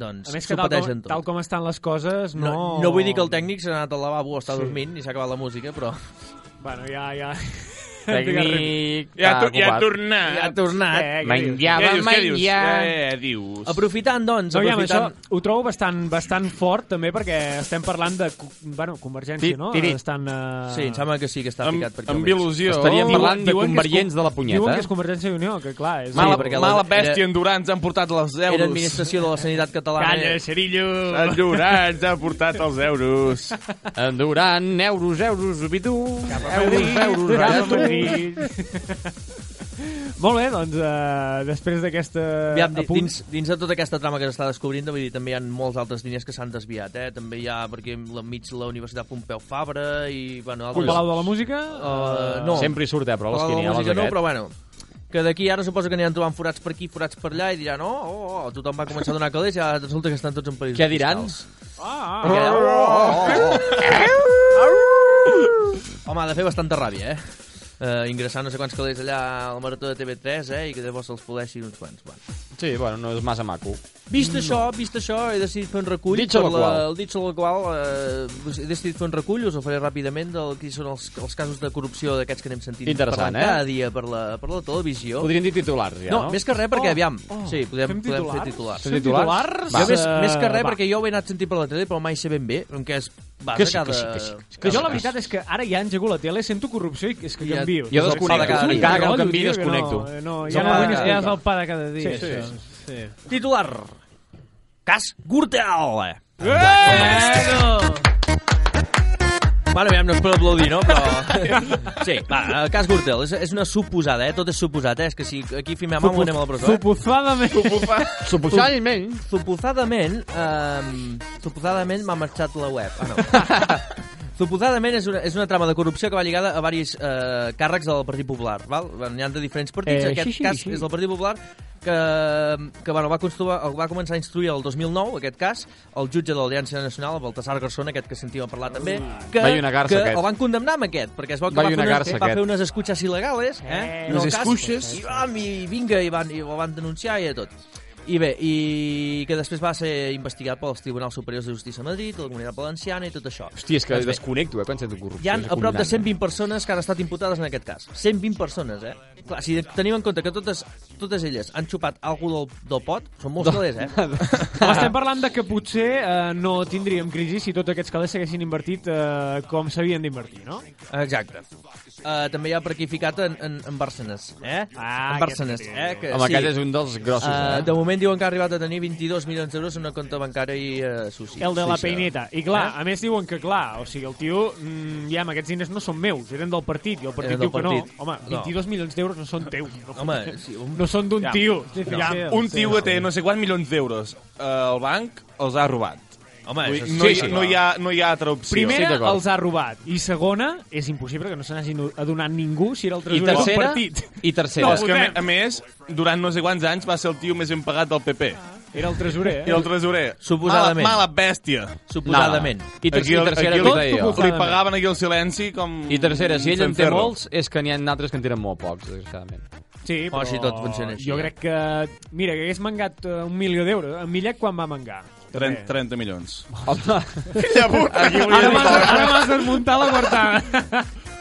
H: doncs
B: A més
H: s'ho
B: que tal
H: pateixen
B: com,
H: tot.
B: tal com estan les coses, no...
H: No, no vull dir que el tècnic s'ha anat al lavabo o està
B: Sí.
H: sí. dormint i s'ha acabat la música, però...
B: Bueno, ja, ja...
G: Tècnic,
F: Ja ha tor- ja ha tornat.
H: Ja ha tornat.
B: Eh, què
F: Què dius, què dius? Eh, dius.
H: Aprofitant, doncs,
B: No, ja, amb
H: aprofitant...
B: això ho trobo bastant, bastant fort, també, perquè estem parlant de, co- bueno, Convergència,
H: Ti-
B: no?
H: tirit.
B: Estan, uh...
H: Sí, em sembla que sí que està Amb- ficat per aquí amb al mig.
F: il·lusió.
G: Estaríem parlant de
F: diuen que és
G: convergents de la punyeta.
B: Diuen que és Convergència i Unió, que clar... És...
G: Mala-
H: perquè la-
F: Mala
H: era-
F: bèstia, endurants, han portat els euros.
H: Era administració de la sanitat catalana.
F: Calla,
B: Xerillo!
F: Endurants ha portat els euros.
G: Endurant, euros, euros, ubidu, euros, euros,
B: Cap a
G: euros.
B: Madrid. Molt bé, doncs, uh, després d'aquesta...
H: Aviam, di-
B: apunt-
H: dins, dins de tota aquesta trama que s'està descobrint, vull dir, també hi ha molts altres diners que s'han desviat, eh? També hi ha, perquè enmig la Universitat Pompeu Fabra i, bueno, altres...
B: Palau de la Música?
H: Uh, no.
G: Sempre hi surt, eh, però, les
H: Palau de la
G: quinieles
H: Música no,
G: aquest.
H: però bueno, que d'aquí ara suposo que aniran trobant forats per aquí, forats per allà, i diran, oh, oh, oh tothom va començar a donar calés i ara resulta que estan tots en països
G: Què diran?
B: Ah,
H: ah, ah, oh, oh, oh. Home, ha de fer bastanta ràbia, eh? Uh, ingressar no sé quants calés allà al marató de TV3, eh? I que llavors se'ls podeixi uns quants. Bueno.
G: Sí, bueno, no és massa maco.
H: Vist no. això, vist això, he decidit fer un recull.
G: Dit sobre
H: per
G: el qual.
H: El dit sobre el qual eh, he decidit fer un recull, us el faré ràpidament, del que són els, els casos de corrupció d'aquests que anem sentint
G: Interessant,
H: parlant
G: eh?
H: cada dia per la, per la televisió.
G: Podríem dir titulars, ja,
H: no?
G: no?
H: més que res,
G: Oh,
H: perquè, oh, aviam,
G: oh.
H: oh, sí, podem,
G: Fem
H: podem fer
G: titulars?
H: titulars.
G: Fem titulars?
H: Va.
G: Va.
H: Jo més,
B: Ah,
H: més que res,
G: Va.
H: perquè jo ho he anat sentint per la tele, però mai sé ben bé en què es basa
B: Que sí,
H: cada...
B: que sí, que sí, que sí. Que
I: Doncs
B: jo la veritat és que ara ja engego la tele, sento corrupció i és que
H: Ja-
B: canvio.
H: jo desconnecto. Encara que no canviï,
B: canvies,
H: desconnecto.
B: No, eh, no,
H: És
B: ja,
H: el
B: no,
H: pa
B: vull
H: de
B: ni escoltar.
H: cada dia.
I: És el pa de cada dia,
B: Sí,
I: això.
B: sí.
I: Sí.
H: Titular. Cas Gürtel.
B: Bueno!
H: Bueno, aviam, no es pot aplaudir, no? Però... Sí, va, el cas Gürtel. És, és una suposada, eh? Tot és suposat, eh? És que si aquí fim a mamo anem a la presó, eh?
I: Supuzadament.
H: Suposadament. Suposadament, ehm, suposadament m'ha marxat la web. Ah, no. Suposadament és una, és una trama de corrupció que va lligada a diversos eh, càrrecs del Partit Popular. Val? Bueno, N'hi ha de diferents partits.
M: Eh,
H: Eh, aquest
M: sí, sí,
H: sí, cas
M: sí.
H: sí. és del Partit Popular que, que bueno, va, construir, va començar a instruir el 2009, aquest cas, el jutge de l'Audiència Nacional, el Baltasar Garzón, aquest que sentíem a parlar també,
M: Ah.
H: que,
G: Va lleonegar-se,
H: que
G: aquest.
H: el van condemnar amb aquest, perquè es veu que
G: Va
H: va, fer unes,
G: lleonegar-se,
H: va fer
G: aquest.
H: unes escutxes il·legales, eh?
G: Eh.
H: en el
G: Unes
H: cas,
G: escutxes.
H: I vam, i vinga, i, van, i ho van denunciar i de tot. I bé, i que després va ser investigat pels Tribunals Superiors de Justícia a Madrid, la Comunitat Valenciana i tot això.
G: Hòstia, és que
H: Doncs bé,
G: desconnecto, eh, quan sento corrupció.
H: hi ha
G: és
H: a prop de
G: acollonant.
H: 120 persones que han estat imputades en aquest cas. 120 persones, eh? Clar, si tenim en compte que totes, totes elles han xupat algú del, del pot, són molts calés, eh?
B: Estem parlant de que potser eh, no tindríem crisi si tots aquests calés s'haguessin invertit eh, com s'havien d'invertir, no?
H: Exacte. Uh, també hi ha per aquí ficat en, en, en Bárcenas, eh? Ah, en
G: aquest
H: Bárcenas,
G: tio.
H: eh?
G: Home, aquest és un dels grossos, eh?
H: De moment diuen que ha arribat a tenir 22 milions d'euros en una compte bancària i uh, suïcida.
B: El de la peineta. I clar, a més diuen que clar, o sigui, el tio, mm, ja, amb aquests diners no són meus, eren del partit, i el partit
H: Eren
B: diu
H: del
B: que
H: partit.
B: no. Home,
H: No.
B: 22 milions d'euros no són teus. No,
H: Home, sí, un-
B: no són d'un
F: Ja,
B: tio.
F: ja, un tio que té no sé quants milions d'euros eh, al banc els ha robat.
H: Home,
F: Vull
H: això
F: dir,
H: sí,
F: no, hi,
H: sí,
F: no,
H: clar.
F: hi ha, no hi ha altra opció.
B: Primera, els ha robat. I segona, és impossible que no se n'hagi adonat ningú si era el tresorer del partit.
F: No,
B: No,
F: és que, a me-
B: votem.
F: a més, durant no sé quants anys va ser el tio més ben pagat del PP.
B: Era el tresorer, eh?
F: Era el tresorer.
H: Suposadament.
F: Mala, mala bèstia.
G: Suposadament. No. I ter- i tercera,
F: aquí,
G: tot suposadament.
F: li pagaven aquí el silenci com...
G: I tercera, si ell en té
F: Sanferro.
G: molts, és que n'hi ha altres que en tenen molt pocs, desgraciadament.
B: Sí, però...
G: Oh, si tot funciona així,
B: Jo
G: eh?
B: crec que... Mira, que hagués mangat eh, un milió d'euros. En Millet quan va mangar?
F: 30, 30 milions.
G: Home.
F: Filla puta.
B: Aquí volia Ara dir- m'has- ara m'has desmuntat la coartada.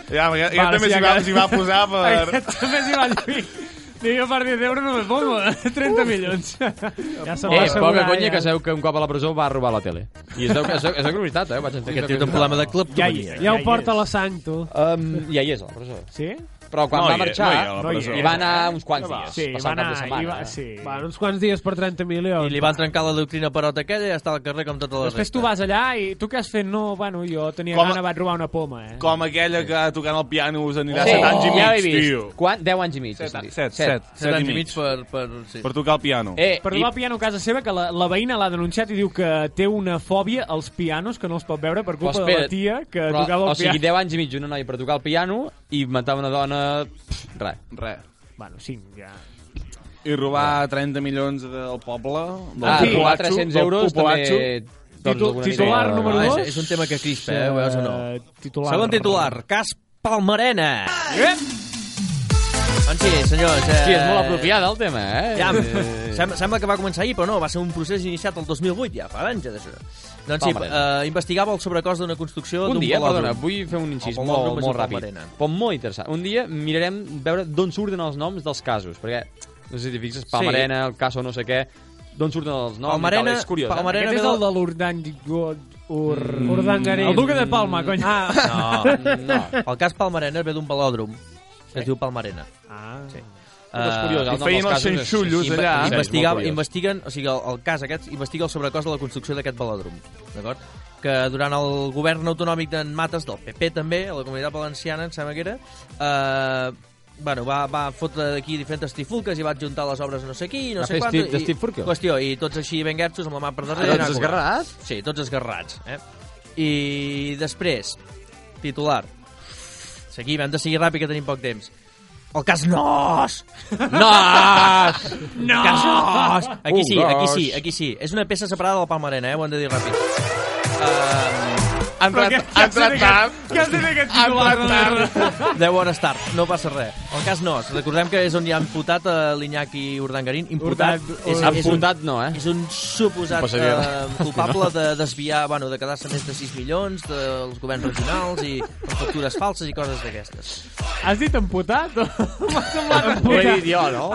F: Ja, ja, ja
B: Vale,
F: també
B: sí,
F: s'hi va,
B: aquest-
F: s'hi va posar per...
B: Aquest també s'hi va lluir. Dic, jo per 10 euros no me pongo. 30 milions. ja se'm va
G: Eh,
B: assegurar,
G: poca conya
B: ja.
G: que sabeu que un cop a la presó va robar la tele. I és, és, és, és veritat, eh? Vaig entendre
H: Aquest
G: que-
H: té un problema de
I: Ja, ja ho porta la sang, tu.
G: Um, ja hi és, a la presó.
B: Sí?
G: Però quan
I: No
G: va
I: hi és,
G: marxar,
I: no hi és a la presó.
G: hi va anar uns quants
I: No va.
G: dies.
I: Sí,
G: passar
I: va
G: el cap de
I: anar,
G: setmana,
I: hi va-
G: eh?
B: sí.
I: Bueno, uns quants dies per 30 milions.
H: I li van trencar la doctrina perota aquella i ja està al carrer com tota la
B: Després
H: resta.
B: tu vas allà i tu què has fet? No, bueno, jo tenia
F: Com a-
B: gana, vaig robar una poma, eh?
F: Com aquella que tocant el piano us anirà
B: Sí,
F: 7 anys i mig,
B: ja ho he vist.
F: tio.
G: Quan? 10 anys i mig.
F: Set, set,
G: set,
F: set, set,
G: set
F: i mig.
H: per, per, sí.
F: per tocar el piano.
B: Eh, per trobar piano a casa seva, que la, la veïna l'ha denunciat i diu que té una fòbia als pianos, que no els pot veure per
G: Però
B: culpa de la
G: espera't,
B: tia que
G: però,
B: tocava el
G: O sigui,
B: piano.
G: 10 anys i mig una noia per tocar el piano i matar una dona... Pff, res.
F: Res.
B: Bueno, 5, ja.
F: I robar 30 milions del poble... Del
G: Ah,
F: populatxo,
G: robar 300
F: del
G: euros
F: populatxo.
G: també, doncs, Titu- alguna
H: titular número
F: Ah, és-
H: dos.
F: És un tema que crispa,
H: Eh,
F: eh?
H: ho veus o no?
B: titular.
H: Segon titular, cas Palmarena.
B: Eh?
H: Ep! Doncs sí, senyors... Eh...
G: Hòstia, és molt apropiada, el tema, eh?
H: Ja,
G: Eh.
H: sembla, sembla que va començar ahir, però no, va ser un procés iniciat el 2008, ja, fa anys ja d'això. Doncs sí,
G: Palmarena.
H: eh, investigava el sobrecost d'una construcció
G: Un
H: d'un
G: dia,
H: velòdrom.
G: perdona, vull fer un incís
H: El velòdrom
G: molt,
H: és
G: molt
H: un
G: ràpid.
H: Palmarena.
G: Però molt interessant. Un dia mirarem veure d'on surten els noms dels casos, perquè, no sé si t'hi fixes, Palmarena, el cas o no sé què, d'on surten els noms i tal, és curiós. eh?
B: Aquest és el de l'Urdan... Ur...
G: Mm. Urdangarín.
B: El duque de Palma, cony.
H: Ah, no, no. El cas Palmarena ve d'un velòdrom, que es diu Palmarena.
B: Ah.
H: Sí.
G: Però és curiós, el nom
H: feien
G: dels
H: els
G: casos és-
H: xenxullos
G: sí, sí, és molt
H: Investiga,
G: curiós.
H: investiguen, o sigui, el, el cas aquest investiga el sobrecost de la construcció d'aquest velòdrom, d'acord? Que durant el govern autonòmic d'en Mates, del PP també, a la Comunitat Valenciana, em sembla que era, eh, bueno, va, va fotre d'aquí diferents trifulques i va adjuntar les obres a no sé qui, no
G: Va
H: sé
G: fer
H: quant...
G: Steve- de
H: i-
G: Steve Furkel.
H: Qüestió, i tots així ben guerxos amb la mà per darrere.
G: Ah,
H: i anar
G: tots
H: cobrant.
G: esgarrats?
H: Sí, tots esgarrats, eh? I després, titular. Seguim, hem de seguir ràpid que tenim poc temps. El cas Nos!
G: Nos!
H: El Cas Uh, Nos! Aquí sí,
G: Un
H: aquí
G: gos.
H: sí, aquí sí. És una peça separada del Palmarena, eh? Ho hem de dir ràpid. Ehm,
F: Ha entrat, ha entrat tard.
B: Què has dit aquest titular?
H: Deu hores tard, no passa res. El cas Nos. Recordem que és on hi ha amputat a l'Iñaki Urdangarín. Imputat.
G: Urdat-
H: és,
G: Amputat
H: és un, no, eh? És un suposat
G: Em passaria.
H: eh, culpable de desviar, bueno, de quedar-se més de 6 milions dels governs regionals i per factures falses i coses d'aquestes.
B: Has dit amputat? o M'ha semblat
G: Ho he
B: amputat.
G: dit jo, no?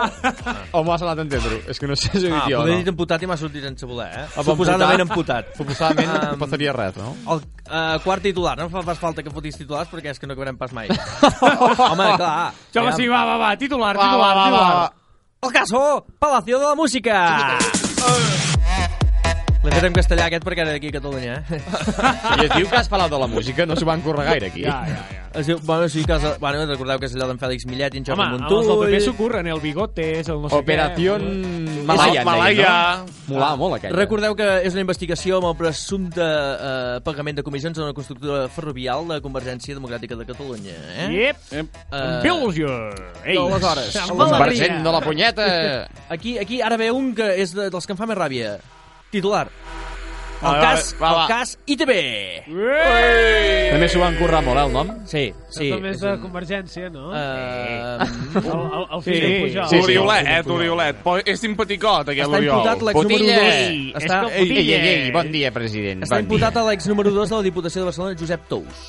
G: O m'ho has anat a entendre-ho? És que no sé si ho he
H: Ah,
G: dit jo,
H: poder
G: no?
H: dit amputat i m'ha sortit sense voler, eh?
G: Ah,
H: Suposadament
G: amputat.
H: amputat.
G: Suposadament no
H: Em,
G: passaria res, no?
H: El eh, quart titular, no fa pas falta que fotis titulars perquè és que no acabarem pas mai. Home, clar.
B: Jo, va, sí, va, va, va, titular, titular,
H: va, va,
B: titular.
H: va. El caso, Palacio de la Música. L'he fet en castellà aquest perquè era d'aquí a Catalunya, eh?
G: I es diu que has parlat de la música, no s'ho van currar gaire, aquí.
H: Ja, ja, ja. Es diu, bueno, sí, casa, bueno, recordeu que és allò d'en Fèlix Millet i en Jordi
B: Home, amb els
H: Montull.
B: del PP s'ho curren, el Bigotes, el no sé
G: Operación
B: què.
G: Malaya, en deien, Malaya. no? Molava
H: Ah,
G: molt, aquella.
H: Recordeu que és una investigació amb el presumpte eh, pagament de comissions d'una constructora ferrovial de Convergència Democràtica de Catalunya. Eh?
B: Yep.
H: Eh,
B: Bilger. Ei,
H: Aleshores,
B: amb
H: amb
B: la
H: Convergent
B: Maria.
G: de la punyeta.
H: Aquí, aquí ara ve un que és de, dels que em fa més ràbia. Titular.
G: Va,
H: El
G: va,
H: cas,
G: va, va.
H: el cas ITB.
G: També s'ho van currar molt, eh, el nom?
H: Sí,
I: Sí, També és de Convergència, no?
H: Uh,
I: el, el, el fill de Pujol.
F: Sí, sí, Oriolet, eh, Oriolet. Però és simpaticot, aquest
H: Està
F: Oriol.
H: imputat l'exnúmero Potilla. dos.
F: Està- Ei,
H: Està-
F: ei,
H: Potilla.
F: ei, ei, bon
G: dia, president.
H: Està imputat a l'ex número 2 de la Diputació de Barcelona, Josep Tous.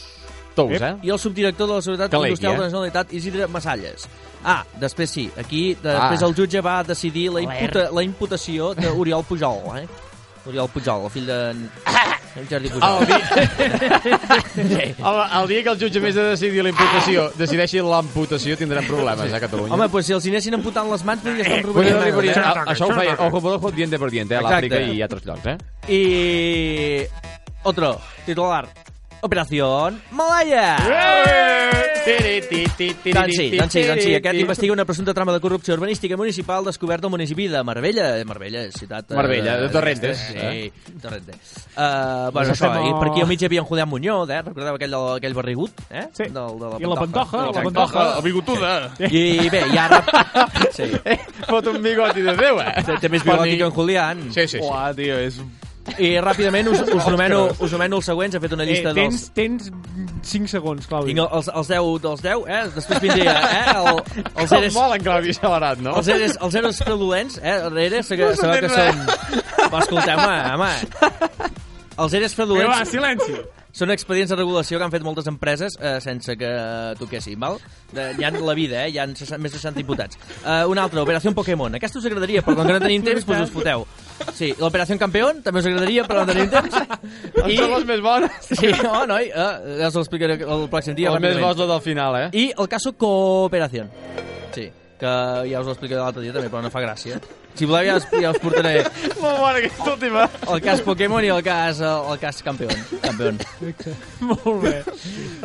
G: Tous, eh?
H: I el subdirector de la Seguretat
G: Calegui,
H: Industrial
G: eh?
H: de la Generalitat, Isidre Masalles. Ah, després sí, aquí de-
G: Ah.
H: després el jutge va decidir la,
G: Alert.
H: imputa, la imputació d'Oriol Pujol, eh? Oriol Pujol, el fill de... El Jordi Pujol.
G: El dia... el, el dia que el jutge, a més de decidir la imputació, decideixi l'amputació, tindrem problemes a Catalunya.
H: Home, doncs si els anessin amputant les mans, podria estar en
G: Bueno,
H: Rubén.
G: no,
H: Bueno,
G: Rivoli,
H: eh?
G: a- això ho feien ojo por ojo, diente por diente, eh, a l'Àfrica
H: Exacte.
G: i altres llocs, eh?
H: I... Otro, titular. Operación Malaya!
G: Eh!
H: Doncs sí, doncs sí, doncs sí. Aquest investiga una presumpta trama de corrupció urbanística municipal descoberta al municipi de Marbella. Marbella és ciutat... eh,
G: Marbella, de Torrentes,
H: Sí,
G: eh?
H: Torrente. Uh, bueno,
G: Nos
H: això,
G: hacemos-
H: i per aquí al mig hi havia en Julián Muñoz, eh? Recordeu aquell, del- aquell barrigut, eh? Sí. Del, de la
B: I la pantoja, la pantoja.
F: La bigotuda.
H: Sí. I bé, i ara... Sí.
G: Fot un bigoti de Déu, eh?
H: Té més bigoti que en Julián.
G: Sí, sí, sí.
F: Uah, tio, és...
H: I ràpidament us, us, nomeno, us nomeno els següents, he fet una llista
B: eh,
H: dels...
B: tens, tens 5 segons, Claudi.
H: Tinc els, els 10 dels 10, eh? Després vindria, eh? El, els
G: Com
H: eres...
G: molen, Claudi, accelerat, no?
H: Els eres, els eres fraudulents, eh? Rere, se, que,
G: No
H: sabeu que
G: s'entén
H: són... Va, escolteu, home, home. Els eres fraudulents...
B: Vinga, va, silenci.
H: Són expedients de regulació que han fet moltes empreses eh, sense que toquessin, val? De, hi ha la vida, eh? Hi ha 60, més de 60 diputats. Uh, una altra, Operació Pokémon. Aquesta us agradaria, però com que no tenim temps, doncs us foteu. Sí, l'Operació Campeón també us agradaria, però no tenim temps. I...
G: són les més bones.
H: Sí, no, noi, eh, ja us l'explicaré el pròxim dia.
G: El més
H: ràpidament.
G: bo és la del final, eh?
H: I el caso Cooperación. Sí, que ja us ho explicaré l'altre dia també, però no fa gràcia. Si voleu ja us, ja us portaré
G: Molt bona aquesta última.
H: el cas Pokémon i el cas, el, el cas Campeón. Campeón.
B: Molt bé.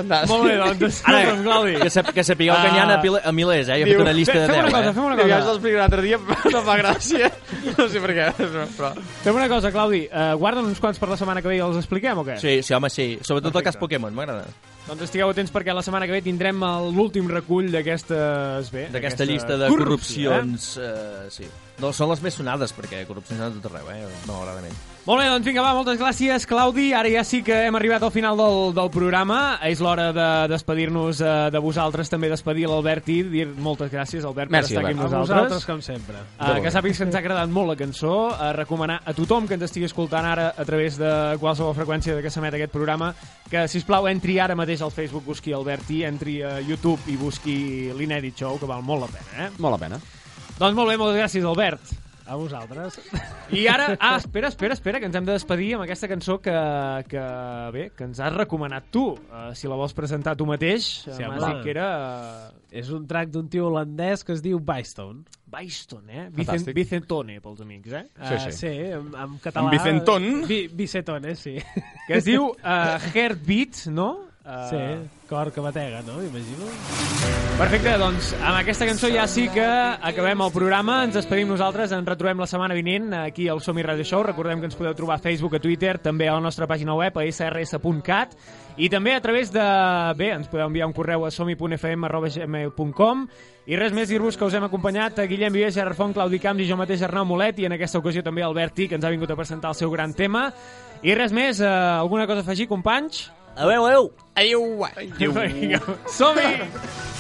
B: Molt bé, doncs,
H: Ara,
B: escolta'm, Claudi.
H: que, sap, que sapigueu que n'hi ha a, pile- a milers, eh? Jo he fet una llista de 10,
B: Ah. Fem una cosa,
H: eh?
B: fem una
G: Ja us
B: cosa.
G: l'explicaré l'altre dia, però no fa gràcia. No sé per què, però...
B: Fem una cosa, Claudi. Uh, guarda'n uns quants per la setmana que ve i els expliquem, o què?
H: Sí, sí, home, sí. Sobretot el cas Pokémon, m'agrada.
B: Doncs estigueu atents perquè la setmana que ve tindrem el- l'últim recull d'aquestes... bé,
H: D'aquesta llista de corrupcions, eh? sí. No, són les més sonades, perquè corrupcions hi ha de tot arreu, eh? Malauradament.
B: Molt bé, doncs vinga, va, moltes gràcies, Claudi. Ara ja sí que hem arribat al final del, del programa. És l'hora de despedir-nos eh, de vosaltres, també despedir l'Albert i dir moltes gràcies, Albert,
I: Merci,
B: per estar aquí amb
I: Albert. A
B: nosaltres.
I: vosaltres, com sempre.
B: Eh, que sàpigues que ens ha agradat molt la cançó. A recomanar a tothom que ens estigui escoltant ara a través de qualsevol freqüència de que s'emet aquest programa que, si us plau, entri ara mateix al Facebook, busqui Alberti, entri a YouTube i busqui l'Inedit Show, que val molt la pena, eh?
G: Molt la pena.
B: Doncs molt bé, moltes gràcies, Albert.
I: A vosaltres.
B: I ara... Ah, espera, espera, espera, que ens hem de despedir amb aquesta cançó que, que bé, que ens has recomanat tu. Uh, si la vols presentar tu mateix, sí, m'has
I: home.
B: dit que era... eh,
I: És un track d'un tio holandès que es diu Bystone.
B: Bystone, eh? Vicent,
I: Fantàstic.
B: Vicentone, pels amics, eh?
I: Sí, sí. sí en, en català...
B: En Vicenton.
I: Vi,
B: eh,
I: Vicentone, sí.
B: Que es diu uh, Heartbeat, no? Uh,
I: Sí, cor que batega, no? Imagino.
B: Perfecte, doncs amb aquesta cançó ja sí que acabem el programa. Ens despedim nosaltres, ens retrobem la setmana vinent aquí al Som i Radio Show. Recordem que ens podeu trobar a Facebook, a Twitter, també a la nostra pàgina web, a srs.cat, i també a través de... Bé, ens podeu enviar un correu a somi.fm.gmail.com i res més dir-vos que us hem acompanyat a Guillem Vives, Gerard Font, Claudi Camps i jo mateix Arnau Molet i en aquesta ocasió també Alberti, que ens ha vingut a presentar el seu gran tema. I res més, eh, alguna cosa a afegir, companys?
H: Adéu, adéu!
G: Adéu!
B: Vinga, som-hi!